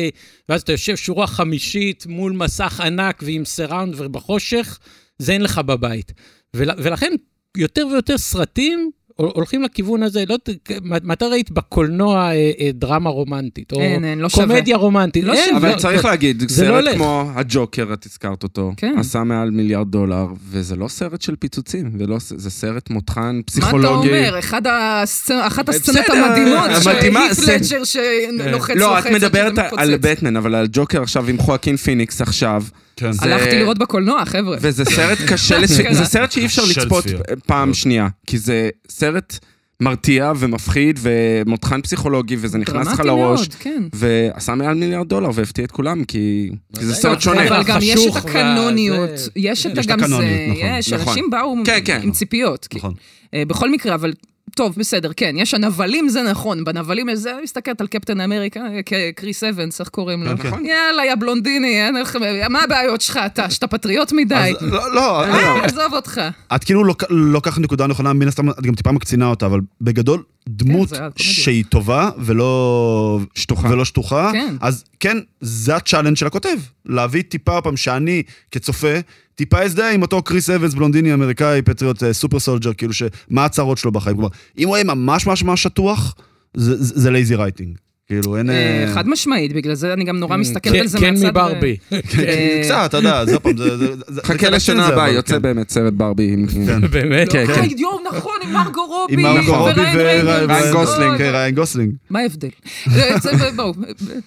Speaker 5: ואז אתה יושב שורה חמישית מול מסך ענק ועם סיראונד ובחושך, זה אין לך בבית. ול... ולכן יותר ויותר סרטים הול- הולכים לכיוון הזה. לא... ת- מתי ראית בקולנוע אה, אה, דרמה רומנטית? או
Speaker 4: אין, אין, לא שווה.
Speaker 5: קומדיה רומנטית?
Speaker 4: לא
Speaker 5: אין,
Speaker 4: שווה.
Speaker 6: אבל
Speaker 5: לא-
Speaker 6: צריך להגיד,
Speaker 5: זה לא
Speaker 6: סרט
Speaker 5: הולך.
Speaker 6: כמו הג'וקר, את הזכרת אותו,
Speaker 4: כן.
Speaker 6: עשה מעל מיליארד דולר, וזה לא סרט של פיצוצים, ולא ס- זה סרט מותחן,
Speaker 4: מה אתה
Speaker 6: פסיכולוגי.
Speaker 4: אומר? אחד הסצ- אחת הסצנות
Speaker 6: בסדר, אה,
Speaker 4: המדהימות
Speaker 6: המדהימה,
Speaker 4: שהיט
Speaker 6: זה-
Speaker 4: לג'ר שלוחץ לוחץ.
Speaker 6: לא, את מדברת
Speaker 4: וזה
Speaker 6: על
Speaker 4: מתפוצץ.
Speaker 6: בטמן, אבל על ג'וקר עכשיו עם חואקין פיניקס עכשיו,
Speaker 7: כן.
Speaker 6: זה-
Speaker 4: הלכתי לראות בקולנוע, חבר'ה.
Speaker 6: אה, וזה סרט קשה, לצ...
Speaker 4: אשכרה.
Speaker 6: זה סרט שאי אפשר
Speaker 7: קשה
Speaker 6: לצפות
Speaker 7: לצפייה.
Speaker 6: פעם שנייה, כי זה סרט מרתיע ומפחיד ומותחן פסיכולוגי, וזה נכנס לך
Speaker 4: דרמטי
Speaker 6: לראש,
Speaker 4: מאוד, כן.
Speaker 6: ועשה מעל מיליארד דולר והפתיע את כולם, כי כי זה סרט שונה.
Speaker 4: לא, אבל גם יש את
Speaker 5: החשוך
Speaker 4: הקנוניות,
Speaker 5: והזה.
Speaker 4: יש את
Speaker 7: יש את
Speaker 4: גם
Speaker 7: הקנוניות,
Speaker 4: זה,
Speaker 7: נכון,
Speaker 4: יש,
Speaker 6: נכון.
Speaker 4: אנשים באו
Speaker 6: כן, כן.
Speaker 4: עם ציפיות. כי-
Speaker 7: נכון.
Speaker 4: אה, בכל מקרה, אבל טוב, בסדר, כן, יש הנבלים, זה נכון, בנבלים יש זה, מסתכלת על קפטן אמריקה, אה, כ- קריס אבנס, איך קוראים לו?
Speaker 7: כן. נכון.
Speaker 4: יאללה, יא בלונדיני, אין לך, מה הבעיות שלך, אתה, שאתה פטריוט
Speaker 5: אה,
Speaker 4: מדי?
Speaker 7: אז- לא, לא, לא.
Speaker 4: אה, עזוב אותך.
Speaker 7: את כאילו לוק- לוקחת נקודה נכונה, מן הסתם את גם טיפה מקצינה אותה, אבל בגדול, דמות
Speaker 4: כן, זה היה קומדיה.
Speaker 7: שהיא טובה ולא...
Speaker 6: שטוחה.
Speaker 7: ולא שטוחה,
Speaker 4: כן.
Speaker 7: אז כן, זה הצ'אלנג' של הכותב. להביא טיפה פעם שאני, כצופה, טיפה הזדהה עם אותו קריס אבנס, בלונדיני אמריקאי, פטריוט אה, סופר סולג'ר, כאילו, ש- מה הצרות שלו בחיים? כלומר, אם הוא היה ממש ממש ממש שטוח, זה- זה זה לייזי רייטינג. כאילו, אין...
Speaker 4: אה,
Speaker 7: אה,
Speaker 4: חד משמעית, בגלל זה אני גם נורא מסתכלת על זה
Speaker 5: כן
Speaker 4: מהצד. ו-
Speaker 5: מברבי.
Speaker 4: אה,
Speaker 7: כן, קצת, אתה יודע, זה פעם, זה... זה- זה- זה
Speaker 6: חכה
Speaker 7: כן
Speaker 6: לשנה
Speaker 7: זה,
Speaker 6: הבאה,
Speaker 7: אבל,
Speaker 6: יוצא
Speaker 7: כן.
Speaker 6: באמת סרט ברבי. עם-
Speaker 7: כן.
Speaker 5: באמת.
Speaker 6: כן,
Speaker 4: אה,
Speaker 6: כן.
Speaker 4: יואו, נכון, עם מרגו רובי.
Speaker 7: עם מרקו רובי
Speaker 4: וריין רייגלס.
Speaker 6: ריין גוסלינג.
Speaker 4: אוי,
Speaker 7: כן, ריין גוסלינג.
Speaker 4: מה ההבדל? אה, זה- זה- בואו,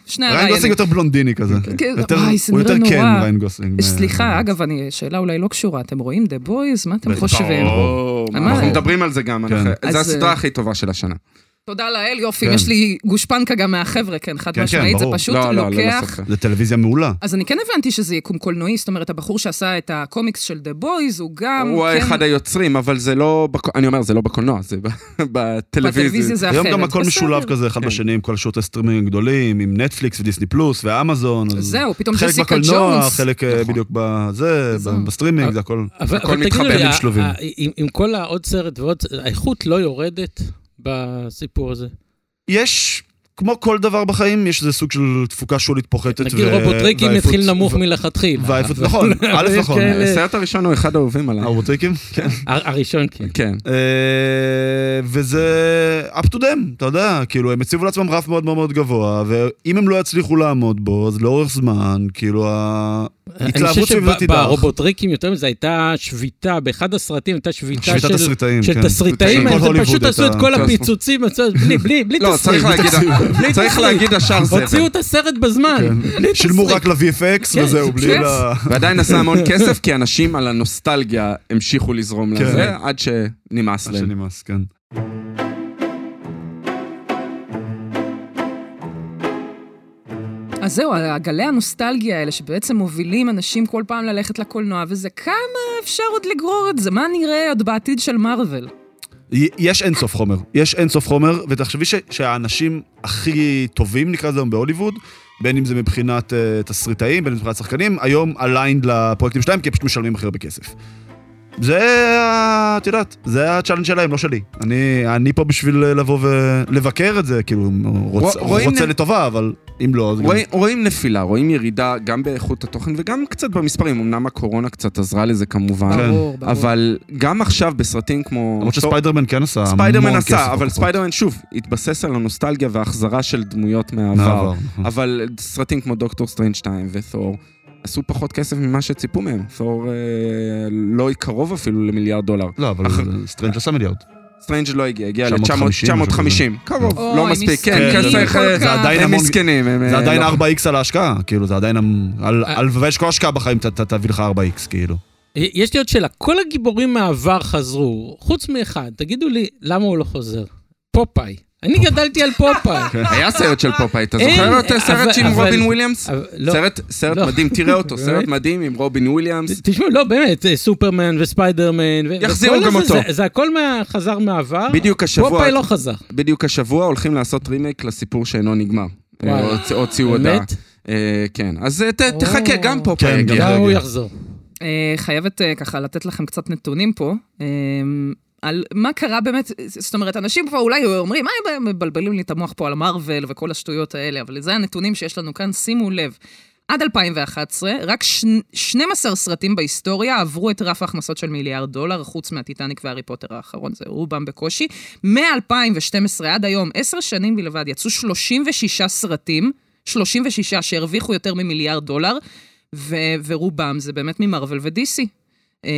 Speaker 4: שני
Speaker 7: ריין גוסלינג
Speaker 4: הריינים.
Speaker 7: יותר בלונדיני כזה.
Speaker 4: כן,
Speaker 7: יותר-
Speaker 4: וואי, זה
Speaker 7: הוא יותר
Speaker 4: נראה
Speaker 7: כן,
Speaker 4: נורא.
Speaker 7: ריין גוסלינג.
Speaker 4: סליחה, אגב, אני- שאלה אולי לא קשורה, אתם רואים The Boys? מה אתם
Speaker 7: בטח.
Speaker 4: חושבים?
Speaker 6: או,
Speaker 4: אמר.
Speaker 6: אנחנו מדברים על זה גם, אנחנו-
Speaker 4: אז,
Speaker 6: זה
Speaker 4: אה,
Speaker 6: הסדרה הכי טובה של השנה.
Speaker 4: תודה לאל, יופי,
Speaker 7: כן.
Speaker 4: יש לי גושפנקה גם מהחבר'ה, כן, חד
Speaker 7: כן,
Speaker 4: משמעית,
Speaker 7: כן,
Speaker 4: זה
Speaker 7: ברור.
Speaker 4: פשוט
Speaker 6: לא, לא, ללא
Speaker 4: לוקח.
Speaker 6: ספק.
Speaker 7: זה טלוויזיה מעולה.
Speaker 4: אז אני כן הבנתי שזה יקום קולנועי, זאת אומרת, הבחור שעשה את הקומיקס של The Boys, הוא גם...
Speaker 6: הוא
Speaker 4: כן,
Speaker 6: אחד היוצרים, אבל זה לא, בק- אני אומר, זה לא בקולנוע, זה ב- בטלוויזיה.
Speaker 4: בטלוויזיה זה אחרת.
Speaker 7: היום גם הכל
Speaker 4: בסדר. כן.
Speaker 7: משולב כזה אחד בשני עם כל השירות הסטרימינג הגדולים, עם נטפליקס ודיסני פלוס ואמזון. אז
Speaker 4: זהו, פתאום
Speaker 7: חלק
Speaker 4: ג'סיקה
Speaker 7: בקולנוע,
Speaker 4: ג'ונס. נכון.
Speaker 7: חלק אה, בדיוק בזה, ב-
Speaker 4: זהו. אה,
Speaker 7: בסטרימינג, זה הכל.
Speaker 5: אבל,
Speaker 6: הכל
Speaker 5: אבל תגידו
Speaker 6: מתחבר
Speaker 5: לי,
Speaker 6: עם
Speaker 5: ה-
Speaker 6: שלובים.
Speaker 5: ה- עם, עם כל העוד סרט ועוד, ס- האיכות לא יורדת בסיפור הזה.
Speaker 7: יש כמו כל דבר בחיים, יש איזה סוג של תפוקה שולית פוחתת.
Speaker 5: נגיד
Speaker 7: ו-
Speaker 5: רובריקין
Speaker 7: ועייפות-
Speaker 5: התחיל נמוך כן.
Speaker 7: ו-
Speaker 5: מלכתחילה.
Speaker 7: ועייפות,
Speaker 5: אבל-
Speaker 7: נכון, א'
Speaker 5: יש
Speaker 7: נכון.
Speaker 5: כאלה-
Speaker 6: הסרט הראשון הוא אחד האהובים עליי.
Speaker 7: הרובריקים? כן.
Speaker 5: הר- הראשון כן.
Speaker 6: כן.
Speaker 7: אה, וזה up to them, אתה יודע, כאילו, הם הציבו לעצמם רף מאוד מאוד מאוד גבוה, ואם הם לא יצליחו לעמוד בו, אז לאורך זמן, כאילו,
Speaker 5: אני חושב
Speaker 7: ההתלהבות סביב זה תידח.
Speaker 5: שברובוטריקים יותר מזה הייתה שביתה, באחד הסרטים הייתה שביתה
Speaker 7: שביתת
Speaker 5: של
Speaker 7: תסריטאים,
Speaker 5: של
Speaker 7: כן.
Speaker 5: תסריטאים,
Speaker 7: של
Speaker 5: הם
Speaker 7: כל הוליווד
Speaker 5: פשוט עשו את
Speaker 7: הייתה-
Speaker 5: כל
Speaker 6: כן.
Speaker 5: הפיצוצים, עשו- בלי- בלי בלי
Speaker 6: לא, צריך
Speaker 5: תסריט.
Speaker 6: להגיד, צריך להגיד השאר זבל.
Speaker 5: הוציאו את הסרט בזמן.
Speaker 7: כן.
Speaker 5: בלי
Speaker 7: שילמו
Speaker 5: תסריט.
Speaker 7: רק ל-VFX
Speaker 5: כן,
Speaker 7: וזהו, בלי
Speaker 4: כן.
Speaker 7: ל...
Speaker 6: ועדיין עשה המון כסף, כי אנשים על הנוסטלגיה המשיכו לזרום
Speaker 7: כן.
Speaker 6: לזה, עד שנמאס
Speaker 7: עד
Speaker 6: להם.
Speaker 7: שנמאס, כן.
Speaker 4: אז זהו, הגלי הנוסטלגיה האלה, שבעצם מובילים אנשים כל פעם ללכת לקולנוע וזה, כמה אפשר עוד לגרור את זה? מה נראה עוד בעתיד של מארוול?
Speaker 7: י- יש אינסוף חומר, יש אינסוף חומר, ותחשבי ש- שהאנשים הכי טובים, נקרא לזה היום בהוליווד, בין אם זה מבחינת אה, תסריטאים, בין אם זה מבחינת שחקנים, היום אליינד לפרויקטים שלהם, כי הם פשוט משלמים הכי הרבה כסף. זה, ה- את יודעת, זה הצ'אלנג' שלהם, לא שלי. אני, אני פה בשביל אה, לבוא ולבקר את זה, כאילו, רוצ,
Speaker 6: רוא- רואים
Speaker 7: רוצה
Speaker 6: נ-
Speaker 7: לטובה, אבל אם לא, אז גם...
Speaker 6: רואים- רואים נפילה, רואים ירידה גם באיכות התוכן וגם קצת במספרים, אמנם הקורונה קצת עזרה לזה כמובן,
Speaker 7: כן.
Speaker 4: ברור, ברור.
Speaker 6: אבל גם עכשיו בסרטים כמו...
Speaker 7: למרות שספיידרמן כן עשה המון
Speaker 6: ספיידרמן
Speaker 7: כסף
Speaker 6: עשה, אבל
Speaker 7: בכוחות.
Speaker 6: ספיידרמן שוב, התבסס על הנוסטלגיה וההחזרה של דמויות
Speaker 7: מהעבר,
Speaker 6: מהעבר.
Speaker 7: נכון.
Speaker 6: אבל סרטים כמו דוקטור סטרנג' 2 ותור, עשו פחות כסף ממה שציפו מהם. תור אה, לא קרוב אפילו למיליארד דולר.
Speaker 7: לא, אבל
Speaker 6: אח-
Speaker 7: סטרנג' עשה מיליארד.
Speaker 6: סטרנג' לא הגיע, הגיע
Speaker 7: 950,
Speaker 6: ל-950. קרוב,
Speaker 4: אוי,
Speaker 6: לא מספיק. כן,
Speaker 4: מסכנים
Speaker 6: כסף,
Speaker 4: כל
Speaker 6: אה,
Speaker 4: כך. זה
Speaker 7: עדיין
Speaker 6: הם
Speaker 7: המון-
Speaker 6: מסכנים. הם,
Speaker 7: זה
Speaker 6: אה,
Speaker 7: עדיין
Speaker 6: לא-
Speaker 7: 4x על ההשקעה, כאילו, זה עדיין... המ- על- הלוואי שכל השקעה בחיים ת- ת- תביא לך 4x, כאילו.
Speaker 5: יש לי עוד שאלה, כל הגיבורים מהעבר חזרו, חוץ מאחד, תגידו לי, למה הוא לא חוזר? פופאי. אני גדלתי על פופאי.
Speaker 6: היה סרט של פופאי, אתה
Speaker 5: אין, אה,
Speaker 6: זוכר את
Speaker 5: אבל-
Speaker 6: הסרט עם
Speaker 5: אבל-
Speaker 6: רובין וויליאמס?
Speaker 5: אבל- לא.
Speaker 6: סרט- סרט
Speaker 5: לא.
Speaker 6: מדהים, תראה אותו, סרט
Speaker 5: באמת?
Speaker 6: מדהים עם רובין וויליאמס.
Speaker 5: תשמעו, לא, באמת, אה, סופרמן וספיידרמן. ו-
Speaker 6: יחזירו
Speaker 5: וכל
Speaker 6: גם
Speaker 5: הזה,
Speaker 6: אותו.
Speaker 5: זה- זה הכל מה- חזר מהעבר.
Speaker 6: בדיוק השבוע-
Speaker 5: פופאי לא חזר.
Speaker 6: בדיוק השבוע הולכים לעשות רימייק לסיפור שאינו נגמר. אה,
Speaker 5: וואלה.
Speaker 6: הוצ- הוציאו הודעה.
Speaker 5: באמת?
Speaker 6: אה, כן, אז אה, ת-
Speaker 4: או.
Speaker 6: תחכה, גם פופאי
Speaker 7: כן,
Speaker 6: יגיע.
Speaker 7: גם-
Speaker 5: למה הוא
Speaker 7: רגע.
Speaker 5: יחזור?
Speaker 4: אה, חייבת אה, ככה לתת לכם קצת נתונים פה. אה, על מה קרה באמת, זאת אומרת, אנשים פה אולי אומרים, מה הם מבלבלים לי את המוח פה על מארוול וכל השטויות האלה, אבל זה הנתונים שיש לנו כאן, שימו לב. עד 2011, רק ש... 12 סרטים בהיסטוריה עברו את רף ההכנסות של מיליארד דולר, חוץ מהטיטניק והארי פוטר האחרון, זה רובם בקושי. מ-2012 עד היום, 10 שנים בלבד, יצאו 36 סרטים, 36 שהרוויחו יותר ממיליארד דולר, ו- ורובם זה באמת ממרוול ודיסי. אמ,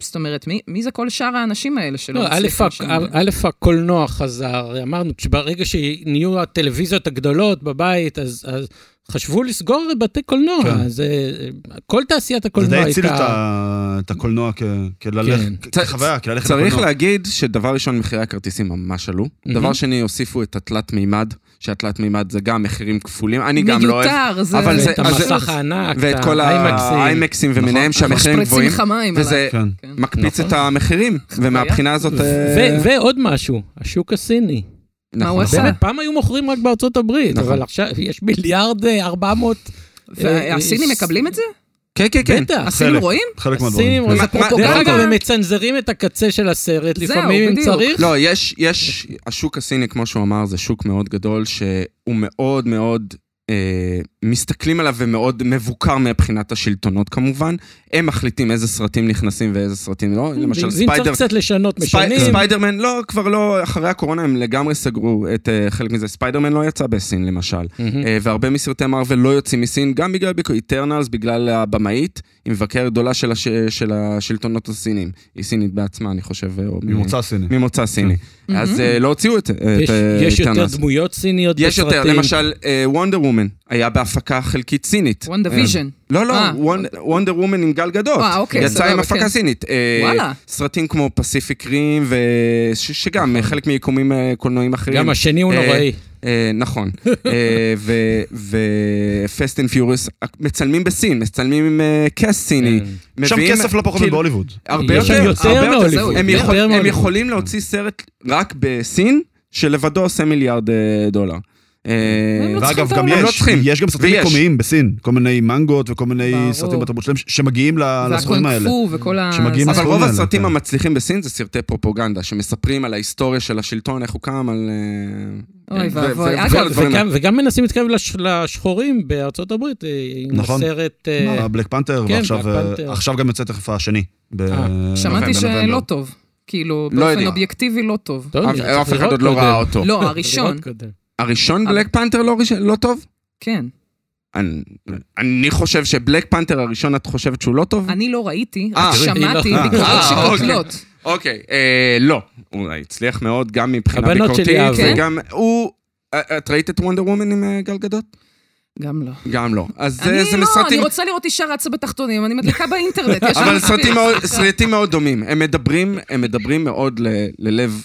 Speaker 4: זאת אומרת, מי, מי זה כל שאר האנשים האלה שלא
Speaker 5: לא, א',
Speaker 4: מצליחים
Speaker 5: הק-
Speaker 4: שם?
Speaker 5: א', הקולנוע חזר, אמרנו, שברגע שנהיו הטלוויזיות הגדולות בבית, אז אז חשבו לסגור בתי קולנוע.
Speaker 7: כן.
Speaker 5: זה- כל תעשיית
Speaker 7: זה די
Speaker 5: הקולנוע
Speaker 7: הציל את
Speaker 5: הייתה...
Speaker 7: ה- את הקולנוע כ-
Speaker 5: כן.
Speaker 7: כללכת- כחוויה, כללכת לקולנוע.
Speaker 6: צריך להגיד שדבר ראשון, מחירי הכרטיסים ממש עלו. דבר שני, הוסיפו את התלת מימד, שהתלת מימד זה גם מחירים כפולים, אני גם לא אוהב.
Speaker 4: מיותר, זה...
Speaker 6: אבל זה-
Speaker 5: את המסך הענק,
Speaker 6: ואת כל
Speaker 5: האיימקסים.
Speaker 6: האיימקסים ומיניהם
Speaker 4: נכון.
Speaker 6: שהמחירים
Speaker 4: משפריצים
Speaker 6: גבוהים,
Speaker 4: לך מים.
Speaker 6: וזה
Speaker 7: כן.
Speaker 6: מקפיץ
Speaker 4: נכון.
Speaker 6: את המחירים, ומהבחינה הזאת...
Speaker 5: ו-
Speaker 6: אה,
Speaker 5: ועוד משהו, השוק הסיני.
Speaker 4: מה הוא
Speaker 6: נכון.
Speaker 4: עשה?
Speaker 5: באמת, פעם היו מוכרים רק בארצות הברית,
Speaker 6: נכון.
Speaker 5: אבל עכשיו יש מיליארד אה, 400...
Speaker 4: עליי. כן. והסינים
Speaker 5: אה,
Speaker 4: מקבלים את זה?
Speaker 6: כן, כן, כן.
Speaker 5: בטח.
Speaker 4: הסינים
Speaker 7: חלק.
Speaker 4: רואים?
Speaker 7: חלק
Speaker 5: הסינים
Speaker 7: מהדברים.
Speaker 5: רואים.
Speaker 6: מה- מה-
Speaker 5: דרך
Speaker 4: פרופוגנדה.
Speaker 5: אגב, הם מצנזרים את הקצה של הסרט,
Speaker 4: זהו,
Speaker 5: לפעמים אם
Speaker 4: בדיוק.
Speaker 5: צריך.
Speaker 6: לא, יש, יש, השוק הסיני, כמו שהוא אמר, זה שוק מאוד גדול, שהוא מאוד מאוד, אה, מסתכלים עליו ומאוד מבוקר מבחינת השלטונות כמובן. הם מחליטים איזה סרטים נכנסים ואיזה סרטים
Speaker 5: אה,
Speaker 6: לא. למשל,
Speaker 5: ואם
Speaker 6: ספיידר,
Speaker 5: צריך קצת לשנות,
Speaker 6: ספי,
Speaker 5: משנים.
Speaker 6: ספיידרמן, לא, כבר לא, אחרי הקורונה הם לגמרי סגרו את אה, חלק מזה. ספיידרמן לא יצא בסין למשל.
Speaker 5: מהמם.
Speaker 6: אה, והרבה מסרטי מארוול לא יוצאים מסין, גם בגלל ביקורת איטרנלס, בגלל הבמאית, היא מבקרת גדולה של, הש, של השלטונות הסינים. היא סינית בעצמה, אני חושב. אה, או-
Speaker 7: ממוצא סיני.
Speaker 6: ממוצא סיני. אז אה, לא הוציאו את
Speaker 5: כן. יש- יש יותר
Speaker 6: טאנס.
Speaker 5: דמויות סיניות
Speaker 6: יש
Speaker 5: בסרטים.
Speaker 6: יותר, למשל, וונדר וומן היה בהפקה חלקית סינית.
Speaker 4: וונדה
Speaker 6: אה,
Speaker 4: ויז'ן.
Speaker 6: לא, לא,
Speaker 4: אה,
Speaker 6: וונדר וומן עם גל גדות.
Speaker 4: אה, אוקיי,
Speaker 6: יצא
Speaker 4: סבבה,
Speaker 6: עם הפקה
Speaker 4: כן.
Speaker 6: סינית. אה,
Speaker 4: וואלה.
Speaker 6: סרטים כמו פסיפיק רים, ו- ש- שגם אה, חלק מיקומים אה, קולנועיים אחרים.
Speaker 5: נכון. גם השני הוא
Speaker 6: אה,
Speaker 5: נוראי.
Speaker 6: אה, נכון. ופסט אנד פיוריוס, אה, מצלמים בסין, מצלמים עם אה, קאסט סיני.
Speaker 5: כן.
Speaker 7: שם
Speaker 6: מביאים-
Speaker 7: כסף לא פחות
Speaker 6: כאילו,
Speaker 7: מבהוליווד.
Speaker 6: הרבה
Speaker 5: יש להם
Speaker 6: יותר,
Speaker 5: יותר
Speaker 6: הרבה
Speaker 5: מהוליווד,
Speaker 6: זהו, הם,
Speaker 5: יותר
Speaker 6: יכול, הם
Speaker 5: מהוליווד.
Speaker 6: יכולים להוציא סרט רק בסין, שלבדו עושה מיליארד אה, דולר. אה,
Speaker 4: והם לא צריכים
Speaker 7: ואגב,
Speaker 4: את
Speaker 7: גם
Speaker 4: העולם.
Speaker 6: הם לא
Speaker 7: יש,
Speaker 6: צריכים.
Speaker 7: יש גם סרטים
Speaker 6: ויש.
Speaker 7: מקומיים בסין, כל מיני מנגות וכל
Speaker 4: ברור.
Speaker 7: מיני סרטים בתרבות שלהם ש- שמגיעים ל- לסכומים האלה.
Speaker 4: והקונג פו וכל ה...
Speaker 7: שמגיעים
Speaker 4: זה.
Speaker 6: אבל
Speaker 7: הסכומים
Speaker 6: רוב
Speaker 7: האלה,
Speaker 6: הסרטים
Speaker 7: כן.
Speaker 6: המצליחים בסין זה סרטי פרופוגנדה, שמספרים על ההיסטוריה של השלטון, איך הוא קם, על... אה,
Speaker 4: אוי
Speaker 6: ו-
Speaker 4: ואבוי.
Speaker 6: ו-
Speaker 4: אגב,
Speaker 6: וכל הדברים
Speaker 5: וגם, וגם מנסים להתקרב לש, לשחורים בארצות הברית, אה, עם
Speaker 7: נכון.
Speaker 5: הסרט... אה,
Speaker 7: בלק פנתר,
Speaker 5: כן,
Speaker 7: ועכשיו
Speaker 5: בלק
Speaker 7: אה,
Speaker 5: פנתר.
Speaker 7: עכשיו גם יוצא תכף השני. ב-
Speaker 5: אה,
Speaker 4: שמעתי
Speaker 6: נובמבר,
Speaker 4: שלא
Speaker 6: נובמבר.
Speaker 4: טוב. כאילו,
Speaker 6: לא
Speaker 4: באופן
Speaker 6: יודע.
Speaker 4: אובייקטיבי לא טוב.
Speaker 5: טוב,
Speaker 6: אף-
Speaker 5: אני צריך
Speaker 6: אף אחד
Speaker 5: לראות
Speaker 6: עוד לא
Speaker 5: קודם.
Speaker 6: ראה אותו.
Speaker 4: לא,
Speaker 5: צריך
Speaker 4: הראשון,
Speaker 5: לראות קודם.
Speaker 6: הראשון
Speaker 4: אבל-
Speaker 6: בלק פנתר לא ראשון- לא טוב?
Speaker 4: כן.
Speaker 6: אני- אני חושב שבלק פנתר הראשון, את חושבת שהוא לא טוב?
Speaker 4: אני לא ראיתי,
Speaker 6: אה,
Speaker 4: רק
Speaker 6: תראי,
Speaker 4: שמעתי
Speaker 5: היא לא-
Speaker 4: ביקורות
Speaker 6: אה,
Speaker 4: שקוטלות.
Speaker 6: אוקיי, אה, לא. הוא הצליח מאוד גם מבחינה
Speaker 5: הבנות
Speaker 6: ביקורתית,
Speaker 5: שלי אהבו.
Speaker 6: וגם הוא... אה, את ראית את וונדר וומן עם אה, גל גדות?
Speaker 4: גם לא.
Speaker 6: גם לא. אז
Speaker 4: אני
Speaker 6: זה- זה
Speaker 4: לא, אני
Speaker 6: מסרטים...
Speaker 4: רוצה לראות אישה רצה בתחתונים, אני מדליקה באינטרנט. יש שם
Speaker 6: אבל
Speaker 4: מספיק.
Speaker 6: סרטים מאוד- סרטים מאוד דומים. הם מדברים, הם מדברים מאוד ל- ללב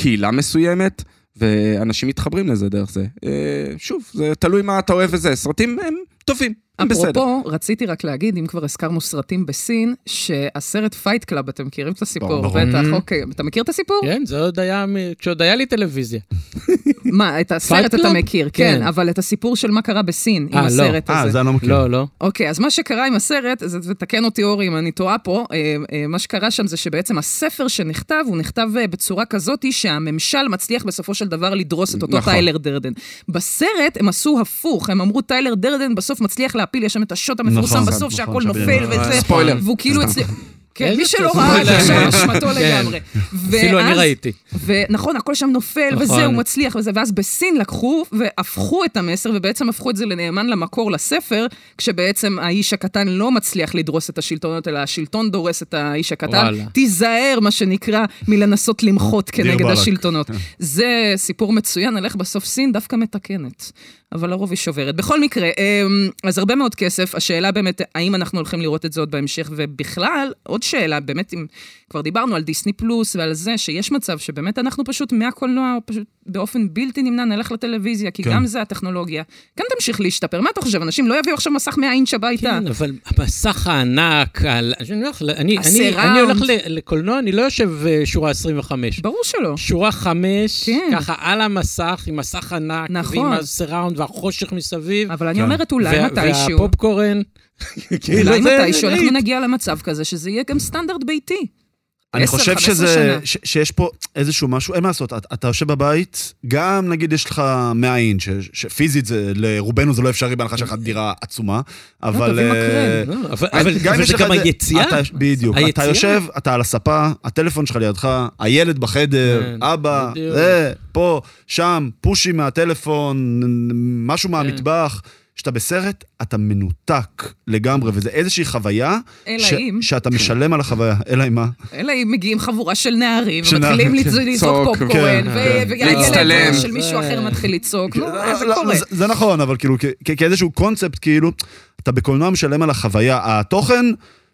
Speaker 6: קהילה מסוימת, ואנשים מתחברים לזה דרך זה. אה, שוב, זה תלוי מה אתה אוהב וזה. סרטים הם טובים, הם בסדר.
Speaker 4: אפרופו, רציתי רק להגיד, אם כבר הזכרנו סרטים בסין, שהסרט פייט קלאב, אתם מכירים את הסיפור,
Speaker 7: ברור.
Speaker 4: בטח, אוקיי. אתה מכיר את הסיפור?
Speaker 5: כן, זה עוד היה, מ- כשעוד היה לי טלוויזיה.
Speaker 4: מה, את הסרט אתה
Speaker 5: Club?
Speaker 4: מכיר,
Speaker 5: כן.
Speaker 4: כן, אבל את הסיפור של מה קרה בסין עם
Speaker 5: אה, לא.
Speaker 4: הסרט
Speaker 7: אה,
Speaker 4: הזה.
Speaker 7: זה אני לא מכיר.
Speaker 5: לא, לא.
Speaker 4: אוקיי, אז מה שקרה עם הסרט, זה- ותקן אותי אורי אם אני טועה פה, אה, אה, מה שקרה שם זה שבעצם הספר שנכתב, הוא נכתב אה, בצורה כזאת שהממשל מצליח בסופו של דבר לדרוס את אותו
Speaker 6: נכון.
Speaker 4: טיילר דרדן. בסרט הם עשו הפוך, הם אמרו טיילר דרדן בסוף מצליח להפיל, יש שם את השוט המפורסם
Speaker 7: נכון,
Speaker 4: בסוף
Speaker 7: נכון,
Speaker 4: שהכל
Speaker 7: שבדיוק.
Speaker 4: נופל וזה.
Speaker 6: ספוילר.
Speaker 4: והוא כאילו הצליח... כן,
Speaker 5: איזה
Speaker 4: מי שלא
Speaker 5: ספוילר.
Speaker 4: ראה, זה עכשיו
Speaker 5: כן.
Speaker 4: אשמתו
Speaker 5: כן.
Speaker 4: לגמרי.
Speaker 5: אפילו אני
Speaker 4: ואז-
Speaker 5: ראיתי.
Speaker 4: ונכון, הכל שם נופל,
Speaker 5: נכון.
Speaker 4: וזה, הוא מצליח וזה, ואז בסין לקחו והפכו את המסר, ובעצם הפכו את זה לנאמן למקור לספר, כשבעצם האיש הקטן לא מצליח לדרוס את השלטונות, אלא השלטון דורס את האיש הקטן.
Speaker 5: וואלה.
Speaker 4: תיזהר, מה שנקרא, מלנסות למחות
Speaker 7: דיר
Speaker 4: כנגד
Speaker 7: באלכ.
Speaker 4: השלטונות. זה סיפור מצוין, על איך בסוף סין דווקא מתקנת, אבל לרוב היא שוברת. בכל מקרה, אמ, אז הרבה מאוד כסף, השאלה באמת, האם אנחנו הולכים לראות את זה עוד בהמשך, ובכלל, עוד שאלה, באמת, אם כבר דיברנו על דיסני פלוס ועל זה, שיש מצב שבאמת אנחנו פשוט מהקולנוע, פשוט באופן בלתי נמנע נלך לטלוויזיה, כי
Speaker 7: כן.
Speaker 4: גם זה הטכנולוגיה. כן תמשיך להשתפר, מה אתה חושב, אנשים לא יביאו עכשיו מסך 100 אינץ' הביתה.
Speaker 5: כן, אבל המסך הענק, על... אני לא הולך, ל- אני, אני,
Speaker 4: הסיראונד.
Speaker 5: אני הולך ל- לקולנוע, אני לא יושב אה, שורה 25.
Speaker 4: ברור שלא.
Speaker 5: שורה 5,
Speaker 4: כן.
Speaker 5: ככה על המסך, עם מסך ענק,
Speaker 4: נכון.
Speaker 5: ועם הסיראונד והחושך מסביב.
Speaker 4: אבל אני אומרת, אולי
Speaker 5: כן. וה-
Speaker 4: מתישהו.
Speaker 5: והפופקורן. כאילו,
Speaker 4: אולי
Speaker 5: זה-
Speaker 4: מתישהו
Speaker 5: זה-
Speaker 4: אנחנו נגיע למצב כזה שזה יהיה גם סטנדרט ביתי.
Speaker 7: אני
Speaker 4: 10,
Speaker 7: חושב
Speaker 4: 15
Speaker 7: שזה,
Speaker 4: שנה.
Speaker 7: ש, שיש פה איזשהו משהו, אין מה לעשות, אתה, אתה יושב בבית, גם נגיד יש לך 100 אינץ', ש- שפיזית זה, לרובנו זה לא אפשרי בהנחה שלך דירה עצומה, אבל...
Speaker 4: תביא
Speaker 7: אה,
Speaker 5: לא, אבל אבל-
Speaker 7: גם אם
Speaker 5: אבל
Speaker 7: יש
Speaker 5: זה
Speaker 7: לך
Speaker 5: גם
Speaker 7: את זה-
Speaker 5: היציאה.
Speaker 7: אתה- בדיוק. אתה
Speaker 5: היציאה.
Speaker 7: יושב, אתה על הספה, הטלפון שלך לידך, הילד בחדר,
Speaker 5: כן,
Speaker 7: אבא,
Speaker 5: בדיוק.
Speaker 7: זה, פה, שם, פושים מהטלפון, משהו מהמטבח.
Speaker 5: כן.
Speaker 7: כשאתה בסרט, אתה מנותק לגמרי, וזה איזושהי חוויה,
Speaker 4: אלא
Speaker 7: ש-
Speaker 4: אם.
Speaker 7: שאתה משלם על החוויה, אלא אם מה?
Speaker 4: אלא אם מגיעים חבורה של נערים,
Speaker 7: של
Speaker 4: ומתחילים
Speaker 7: נערים,
Speaker 4: לצ-
Speaker 7: כן.
Speaker 4: לזרוק
Speaker 6: צעוק,
Speaker 4: פופקורן,
Speaker 6: כן,
Speaker 4: ו-
Speaker 6: כן.
Speaker 4: והילד
Speaker 6: להצטלם.
Speaker 4: של מישהו
Speaker 5: זה-
Speaker 4: אחר מתחיל לצעוק, נו,
Speaker 7: לא,
Speaker 4: זה
Speaker 7: לא,
Speaker 4: קורה.
Speaker 7: זה- זה נכון, אבל כאילו, כ- כ- כאיזשהו קונספט, כאילו, אתה בקולנוע משלם על החוויה. התוכן,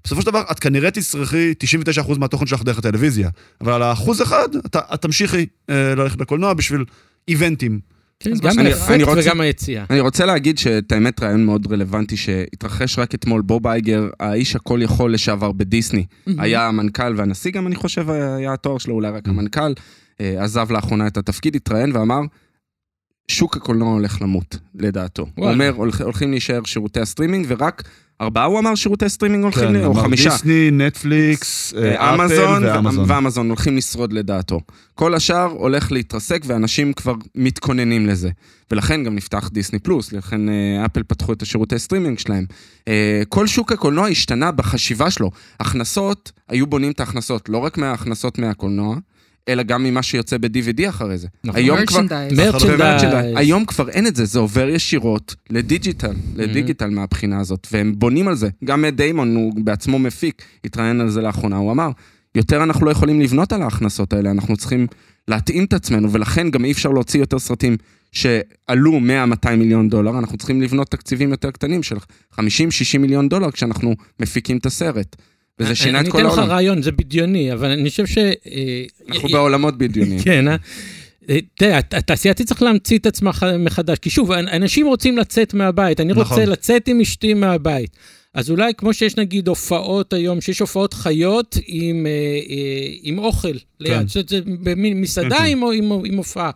Speaker 7: בסופו של דבר, את כנראה תצרכי 99% מהתוכן שלך דרך הטלוויזיה, אבל על האחוז אחד, אתה את תמשיכי אה, ללכת לקולנוע בשביל איבנטים.
Speaker 5: כן,
Speaker 4: אז
Speaker 5: גם
Speaker 4: אני-
Speaker 6: אני
Speaker 5: האפקט
Speaker 6: רוצה-
Speaker 5: וגם היציאה.
Speaker 6: אני רוצה להגיד שאת האמת רעיון מאוד רלוונטי שהתרחש רק אתמול, בוב אייגר, האיש הכל יכול לשעבר בדיסני,
Speaker 4: Mm-hmm.
Speaker 6: היה המנכ"ל והנשיא גם, אני חושב, היה התואר שלו, אולי רק המנכ"ל, אה, עזב לאחרונה את התפקיד, התראיין ואמר, שוק הקולנוע הולך למות, לדעתו. הוא
Speaker 5: וואלה.
Speaker 6: אומר, "הולכ- הולכים להישאר שירותי הסטרימינג, ורק ארבעה, הוא אמר, שירותי סטרימינג הולכים, ל- או
Speaker 7: אמר
Speaker 6: חמישה.
Speaker 7: דיסני, נטפליקס, אה,
Speaker 6: אמזון
Speaker 7: אפל ואמזון.
Speaker 6: ואמזון הולכים לשרוד לדעתו. כל השאר הולך להתרסק ואנשים כבר מתכוננים לזה. ולכן גם נפתח דיסני פלוס, לכן אה, אפל פתחו את השירותי סטרימינג שלהם. אה, כל שוק הקולנוע השתנה בחשיבה שלו. הכנסות, היו בונים את ההכנסות, לא רק מההכנסות מהקולנוע, אלא גם ממה שיוצא ב-DVD אחרי זה.
Speaker 5: נכון.
Speaker 6: היום כבר...
Speaker 4: מרצ'נדייז.
Speaker 6: ומרצ'נדייז.
Speaker 4: אה,
Speaker 5: מרצ'נדייז.
Speaker 6: היום כבר אין את זה, זה עובר ישירות לדיג'יטל,
Speaker 5: Mhm.
Speaker 6: לדיגיטל מהבחינה הזאת, והם בונים על זה. גם מאט דיימון, הוא בעצמו מפיק, התראיין על זה לאחרונה, הוא אמר, יותר אנחנו לא יכולים לבנות על ההכנסות האלה, אנחנו צריכים להתאים את עצמנו, ולכן גם אי אפשר להוציא יותר סרטים שעלו 100-200 מיליון דולר, אנחנו צריכים לבנות תקציבים יותר קטנים של 50-60 מיליון דולר כשאנחנו מפיקים את הסרט. וזה שינה את כל
Speaker 5: אה, אני אתן לך
Speaker 6: העולם.
Speaker 5: רעיון, זה בדיוני, אבל אני חושב ש... אה,
Speaker 6: אנחנו
Speaker 5: אה,
Speaker 6: בעולמות בדיונים.
Speaker 5: כן, אה? אה, תראה, הת- התעשייה תצטרך להמציא את עצמה ח- מחדש, כי שוב, אנ- אנשים רוצים לצאת מהבית, אני רוצה
Speaker 7: נכון.
Speaker 5: לצאת עם אשתי מהבית. אז אולי כמו שיש נגיד הופעות היום, שיש הופעות חיות עם, אה, אה, עם אוכל ליד,
Speaker 7: כן.
Speaker 5: שזה במין מסעדה
Speaker 7: כן, כן.
Speaker 5: עם, עם, עם הופעה.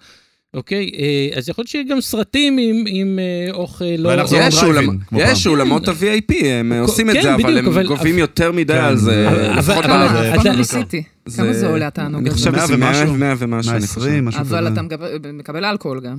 Speaker 5: אוקיי? אה, אז יכול להיות שיהיה גם סרטים עם, עם אה, אוכל לא...
Speaker 7: ואנחנו-
Speaker 6: יש
Speaker 7: דרייב-אין,
Speaker 6: אולמ-
Speaker 7: כמו פעם.
Speaker 6: יש אולמות ה-VIP, הם אה, עושים את
Speaker 5: כן,
Speaker 6: זה, אבל
Speaker 5: בדיוק,
Speaker 6: הם
Speaker 5: אבל-
Speaker 6: גובים יותר מדי
Speaker 7: כן,
Speaker 6: על זה.
Speaker 7: אבל-
Speaker 5: אבל-
Speaker 6: לפחות
Speaker 5: אבל-
Speaker 6: על-
Speaker 5: אבל-
Speaker 4: כמה
Speaker 5: אתה-
Speaker 4: ניסיתי? כמה זה עולה התענוג?
Speaker 6: אני
Speaker 4: הזה?
Speaker 6: חושב
Speaker 7: מאה
Speaker 6: שזה
Speaker 7: ומשהו?
Speaker 6: 100 ומשהו, אני חושב.
Speaker 7: 120, משהו כזה.
Speaker 4: אבל אתה מקבל- מקבל אלכוהול גם.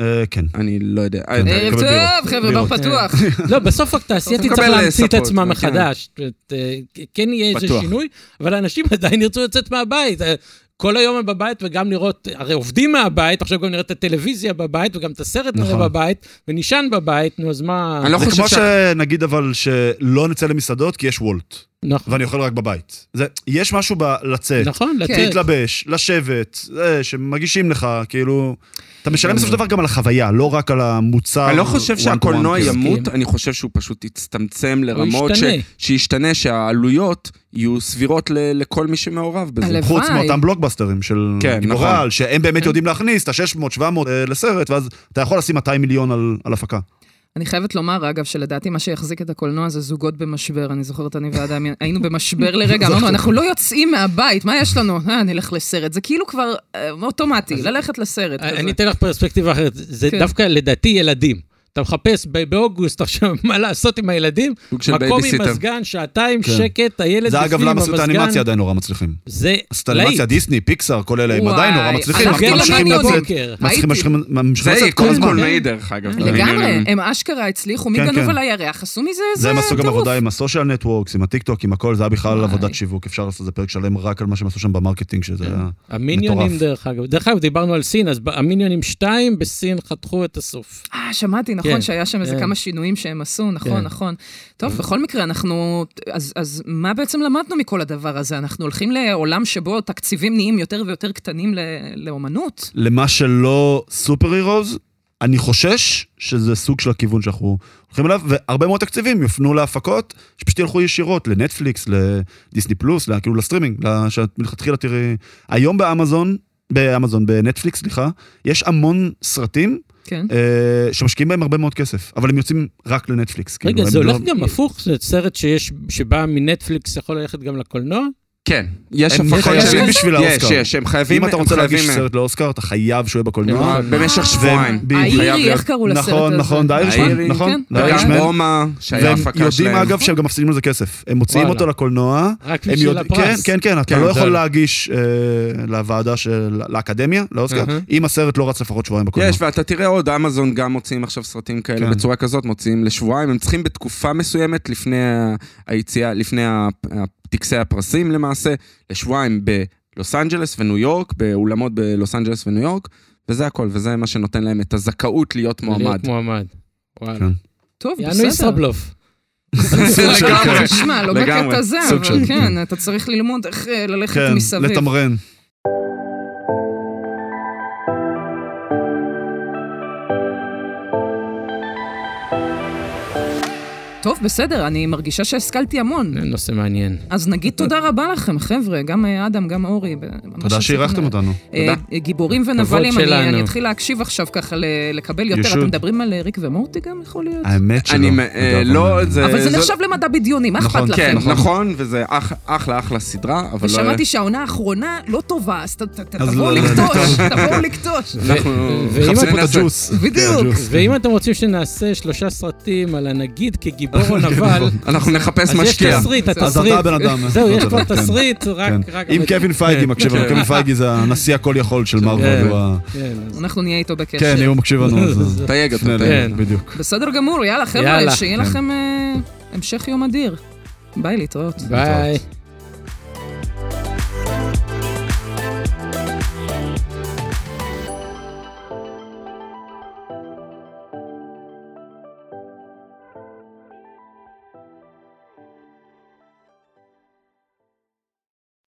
Speaker 7: אה, כן.
Speaker 6: אני לא יודע. אה,
Speaker 7: כן.
Speaker 4: ערב טוב,
Speaker 7: מקבל בירות.
Speaker 4: חבר'ה, בר
Speaker 7: בירות.
Speaker 4: פתוח.
Speaker 5: לא, בסוף התעשייה
Speaker 6: אתה
Speaker 5: תצטרך
Speaker 6: מקבל, אה,
Speaker 5: להמציא את
Speaker 6: support,
Speaker 5: עצמה
Speaker 6: כן.
Speaker 5: מחדש. את, אה, כן יהיה איזה
Speaker 6: בטוח.
Speaker 5: שינוי, אבל אנשים עדיין ירצו לצאת מהבית. אה, כל היום הם בבית וגם לראות, הרי עובדים מהבית, עכשיו גם נראה את הטלוויזיה בבית וגם את הסרט נראה
Speaker 7: נכון.
Speaker 5: בבית, ונישן בבית, נו אז מה...
Speaker 6: אני לא
Speaker 7: זה
Speaker 6: חושב
Speaker 7: כמו
Speaker 6: ש-
Speaker 7: שנגיד אבל שלא נצא למסעדות כי יש וולט,
Speaker 5: נכון,
Speaker 7: ואני אוכל רק בבית. זה- יש משהו בלצאת,
Speaker 5: נכון,
Speaker 4: כן.
Speaker 5: לצאת.
Speaker 7: להתלבש, לשבת, זה, שמגישים לך, כאילו... אתה משלם בסופו של דבר גם על החוויה, לא רק על המוצר.
Speaker 6: אני לא חושב
Speaker 7: אה, one to
Speaker 6: שהקולנוע
Speaker 7: one, כאילו.
Speaker 6: ימות, אני חושב שהוא פשוט יצטמצם לרמות ש-
Speaker 5: ישתנה.
Speaker 6: שישתנה, שהעלויות יהלו סבירות ל- לכל מי שמעורב בזה.
Speaker 4: הלוואי.
Speaker 7: חוץ מאותם בלוקבאסטרים של
Speaker 6: כן,
Speaker 7: גורל,
Speaker 6: נכון.
Speaker 7: שהם באמת יודעים להכניס את ה-600-700 אה, לסרט, ואז אתה יכול לשים 200 מיליון על, על הפקה.
Speaker 4: אני חייבת לומר, אגב, שלדעתי מה שיחזיק את הקולנוע זה זוגות במשבר. אני זוכרת, אני ואדם היינו במשבר לרגע, אמרנו, אנחנו לא יוצאים מהבית, מה יש לנו? אה, נלך לסרט. זה כאילו כבר אה, אוטומטי, ללכת לסרט. כזה.
Speaker 5: אה, אני אתן לך פרספקטיבה אחרת, זה
Speaker 4: כן.
Speaker 5: דווקא לדעתי ילדים. אתה מחפש ב- באוגוסט עכשיו מה לעשות עם הילדים,
Speaker 6: סוג של
Speaker 5: מקום עם
Speaker 6: בייביסיטר.
Speaker 5: מזגן, שעתיים,
Speaker 7: כן.
Speaker 5: שקט, הילד
Speaker 7: זה אגב
Speaker 5: בפנים,
Speaker 7: למה סרטי
Speaker 5: המזגן,
Speaker 7: האנימציה עדיין נורא מצליחים.
Speaker 5: זה
Speaker 7: סרטי
Speaker 5: להיט.
Speaker 7: אנימציה, דיסני, פיקסאר, כל אלה, הם
Speaker 4: וואי,
Speaker 7: עדיין נורא מצליחים,
Speaker 4: אנחנו
Speaker 7: הם
Speaker 5: גם
Speaker 7: ממשיכים
Speaker 5: למדנו
Speaker 7: לצאת.
Speaker 5: בבוקר.
Speaker 7: מצליחים,
Speaker 4: הייתי.
Speaker 7: ממשיכים- ממשיכים
Speaker 6: זה
Speaker 7: לצאת כל
Speaker 6: כל
Speaker 7: הזמן.
Speaker 6: קולנועי דרך אגב.
Speaker 4: לגמרי, הם אשכרה הצליחו, מי
Speaker 7: כן,
Speaker 4: גנוב
Speaker 7: כן.
Speaker 4: על הירח? עשו מזה איזה
Speaker 7: זה הם עשו גם
Speaker 4: טירוף.
Speaker 7: עבודה עם הסושיאל נטוורקס, עם הטיקטוק, עם הכל, זה היה בכלל
Speaker 4: וואי. כן.
Speaker 7: עבודת שיווק, אפשר לעשות איזה פרק שלם רק על מה שהם עשו שם במרקטינג, שזה היה...
Speaker 5: המיניונים
Speaker 7: מטורף.
Speaker 5: דרך אגב, דרך אגב דיברנו על סין, אז ב- המיניונים 2 בסין חתכו את הסוף.
Speaker 4: אה, שמעתי, נכון,
Speaker 5: כן,
Speaker 4: שהיה שם איזה
Speaker 5: כן.
Speaker 4: כמה שינויים שהם עשו, נכון,
Speaker 5: כן.
Speaker 4: נכון.
Speaker 7: אה.
Speaker 4: טוב, בכל מקרה, אנחנו... אז, אז מה בעצם למדנו מכל הדבר הזה? אנחנו הולכים לעולם שבו תקציבים נהיים יותר ויותר קטנים ל, לאומנות?
Speaker 7: למה שלא סופר הירוז, אני חושש שזה סוג של הכיוון שאנחנו הולכים אליו, והרבה מאוד תקציבים יופנו להפקות, שפשוט ילכו ישירות לנטפליקס, לדיסני פלוס, ל- כאילו לסטרימינג, ל- שאת מלכתחילה תראי... היום באמזון, באמזון, בנטפליקס, סליחה, יש המון סרטים
Speaker 4: כן.
Speaker 7: אה, שמשקיעים בהם הרבה מאוד כסף, אבל הם יוצאים רק לנטפליקס.
Speaker 5: רגע,
Speaker 7: כאילו, הם
Speaker 5: זה
Speaker 7: לא-
Speaker 5: הולך גם הפוך, זה סרט שיש, שבא מנטפליקס יכול ללכת גם לקולנוע?
Speaker 6: כן, יש
Speaker 7: הם
Speaker 6: הפקות
Speaker 7: חייבים
Speaker 6: של-
Speaker 7: בשביל
Speaker 6: יש,
Speaker 7: האוסקר.
Speaker 6: יש, הם חייבים...
Speaker 7: ואם אתה
Speaker 6: הם
Speaker 7: רוצה להגיש
Speaker 6: חייבים-
Speaker 7: סרט לאוסקר, אתה חייב שהוא יהיה בקולנוע.
Speaker 6: אה, במשך שבועיים.
Speaker 7: בדיוק.
Speaker 6: חייב
Speaker 4: האירי,
Speaker 6: להיות-
Speaker 4: איך קראו לסרט
Speaker 7: נכון,
Speaker 4: הזה?
Speaker 7: נכון, The Irishman,
Speaker 6: האירי,
Speaker 7: נכון,
Speaker 4: כן.
Speaker 7: The
Speaker 4: וגם
Speaker 6: וגם
Speaker 7: Irishman.
Speaker 6: לא, רומא, שהיה
Speaker 7: והם
Speaker 6: הפקה
Speaker 7: יודעים
Speaker 6: שלהם.
Speaker 7: אגב שהם גם מפסידים על זה כסף. הם מוציאים
Speaker 5: וואלה.
Speaker 7: אותו לקולנוע.
Speaker 5: רק
Speaker 7: הם
Speaker 5: בשביל
Speaker 7: יודע-
Speaker 5: הפרס.
Speaker 7: כן, כן, כן, אתה
Speaker 6: כן,
Speaker 7: לא
Speaker 6: זה-
Speaker 7: יכול להגיש אה, לוועדה של... לאקדמיה, לאוסקר,
Speaker 5: אהה.
Speaker 7: אם הסרט לא רץ לפחות שבועיים בקולנוע.
Speaker 6: יש, ואתה תראה עוד, אמזון גם מוציאים עכשיו סרטים כאלה
Speaker 7: כן.
Speaker 6: בצורה כזאת, מוציאים לשבועיים, הם צריכים בתקופה מסוימת לפני ה- היציאה, לפני ה- ה- טקסי הפרסים למעשה, לשבועיים בלוס אנג'לס וניו יורק, באולמות בלוס אנג'לס וניו יורק, וזה הכל, וזה מה שנותן להם את הזכאות להיות מועמד.
Speaker 5: להיות מועמד. וואלה.
Speaker 7: כן.
Speaker 4: טוב,
Speaker 5: יענו
Speaker 4: בסדר.
Speaker 5: ישראבלוף.
Speaker 6: לגמרי.
Speaker 4: תשמע, לא
Speaker 6: לגמרי.
Speaker 4: בקטע הזה,
Speaker 6: סוג
Speaker 4: אבל
Speaker 6: של-
Speaker 4: כן, אתה צריך ללמוד איך אה, ללכת
Speaker 7: כן,
Speaker 4: מסביב.
Speaker 7: לתמרן.
Speaker 4: טוב, בסדר, אני מרגישה שהשכלתי המון.
Speaker 5: זה נושא מעניין.
Speaker 4: אז נגיד תודה רבה לכם, חבר'ה, גם אה, אדם, גם אורי. ב- ממש
Speaker 7: תודה
Speaker 4: עשיתם,
Speaker 7: שאירחתם
Speaker 4: אה,
Speaker 7: אותנו.
Speaker 4: אה, גיבורים ונבלים,
Speaker 5: הכבוד
Speaker 4: אני
Speaker 5: שלנו.
Speaker 4: אני אתחיל להקשיב עכשיו ככה, ל- לקבל
Speaker 7: You
Speaker 4: יותר.
Speaker 7: should.
Speaker 4: אתם מדברים על אה, ריק ומורטי גם, יכול להיות?
Speaker 7: האמת שלא.
Speaker 6: אני, מ- אה,
Speaker 7: אגב,
Speaker 6: לא,
Speaker 7: אני-
Speaker 6: זה...
Speaker 4: אבל זה
Speaker 6: זו-
Speaker 4: נחשב למדע בדיוני, מה
Speaker 7: נכון,
Speaker 4: אכפת
Speaker 6: כן,
Speaker 4: לכם?
Speaker 6: נכון, וזה אח- אחלה אחלה סדרה, אבל לא...
Speaker 4: ושמעתי שהעונה האחרונה לא טובה, אז ת- ת- ת-
Speaker 7: אז
Speaker 4: תבואו
Speaker 7: לא, לא,
Speaker 4: לקטוש, תבואו לקטוש.
Speaker 6: אה, אנחנו
Speaker 5: ו- ואם
Speaker 6: מחפשים
Speaker 7: פה את
Speaker 6: נעשה.
Speaker 7: הג'וס.
Speaker 4: בדיוק.
Speaker 7: הג'וס.
Speaker 5: ואם אתם רוצים שנעשה שלושה סרטים על הנגיד כגיבור או
Speaker 7: כן,
Speaker 5: נבל,
Speaker 6: אנחנו נחפש
Speaker 5: אז יש
Speaker 6: משקיע.
Speaker 5: תסריט,
Speaker 7: אז אתה
Speaker 5: התסריט.
Speaker 7: הבן אדם.
Speaker 5: זהו, יש כבר
Speaker 7: כן.
Speaker 5: תסריט, רק...
Speaker 7: כן.
Speaker 5: רק-
Speaker 7: אם קווין פייגי מקשיב לנו,
Speaker 6: כן.
Speaker 7: קווין פייגי זה הנשיא הכל יכול של
Speaker 5: כן.
Speaker 7: מרוויל. הוא ה-
Speaker 5: כן, אז-
Speaker 4: אנחנו נהיה איתו
Speaker 7: כן, אם
Speaker 4: בקשר.
Speaker 7: הוא מקשיב לנו, אז...
Speaker 5: זה-
Speaker 6: תייג אותו,
Speaker 7: תפנה
Speaker 6: תייג.
Speaker 5: כן.
Speaker 7: אלינו, בדיוק.
Speaker 4: בסדר
Speaker 7: כן.
Speaker 4: גמור, יאללה, חבר'ה,
Speaker 5: יאללה.
Speaker 4: שיהיה לכם אה, המשך יום אדיר. ביי, להתראות.
Speaker 5: ביי.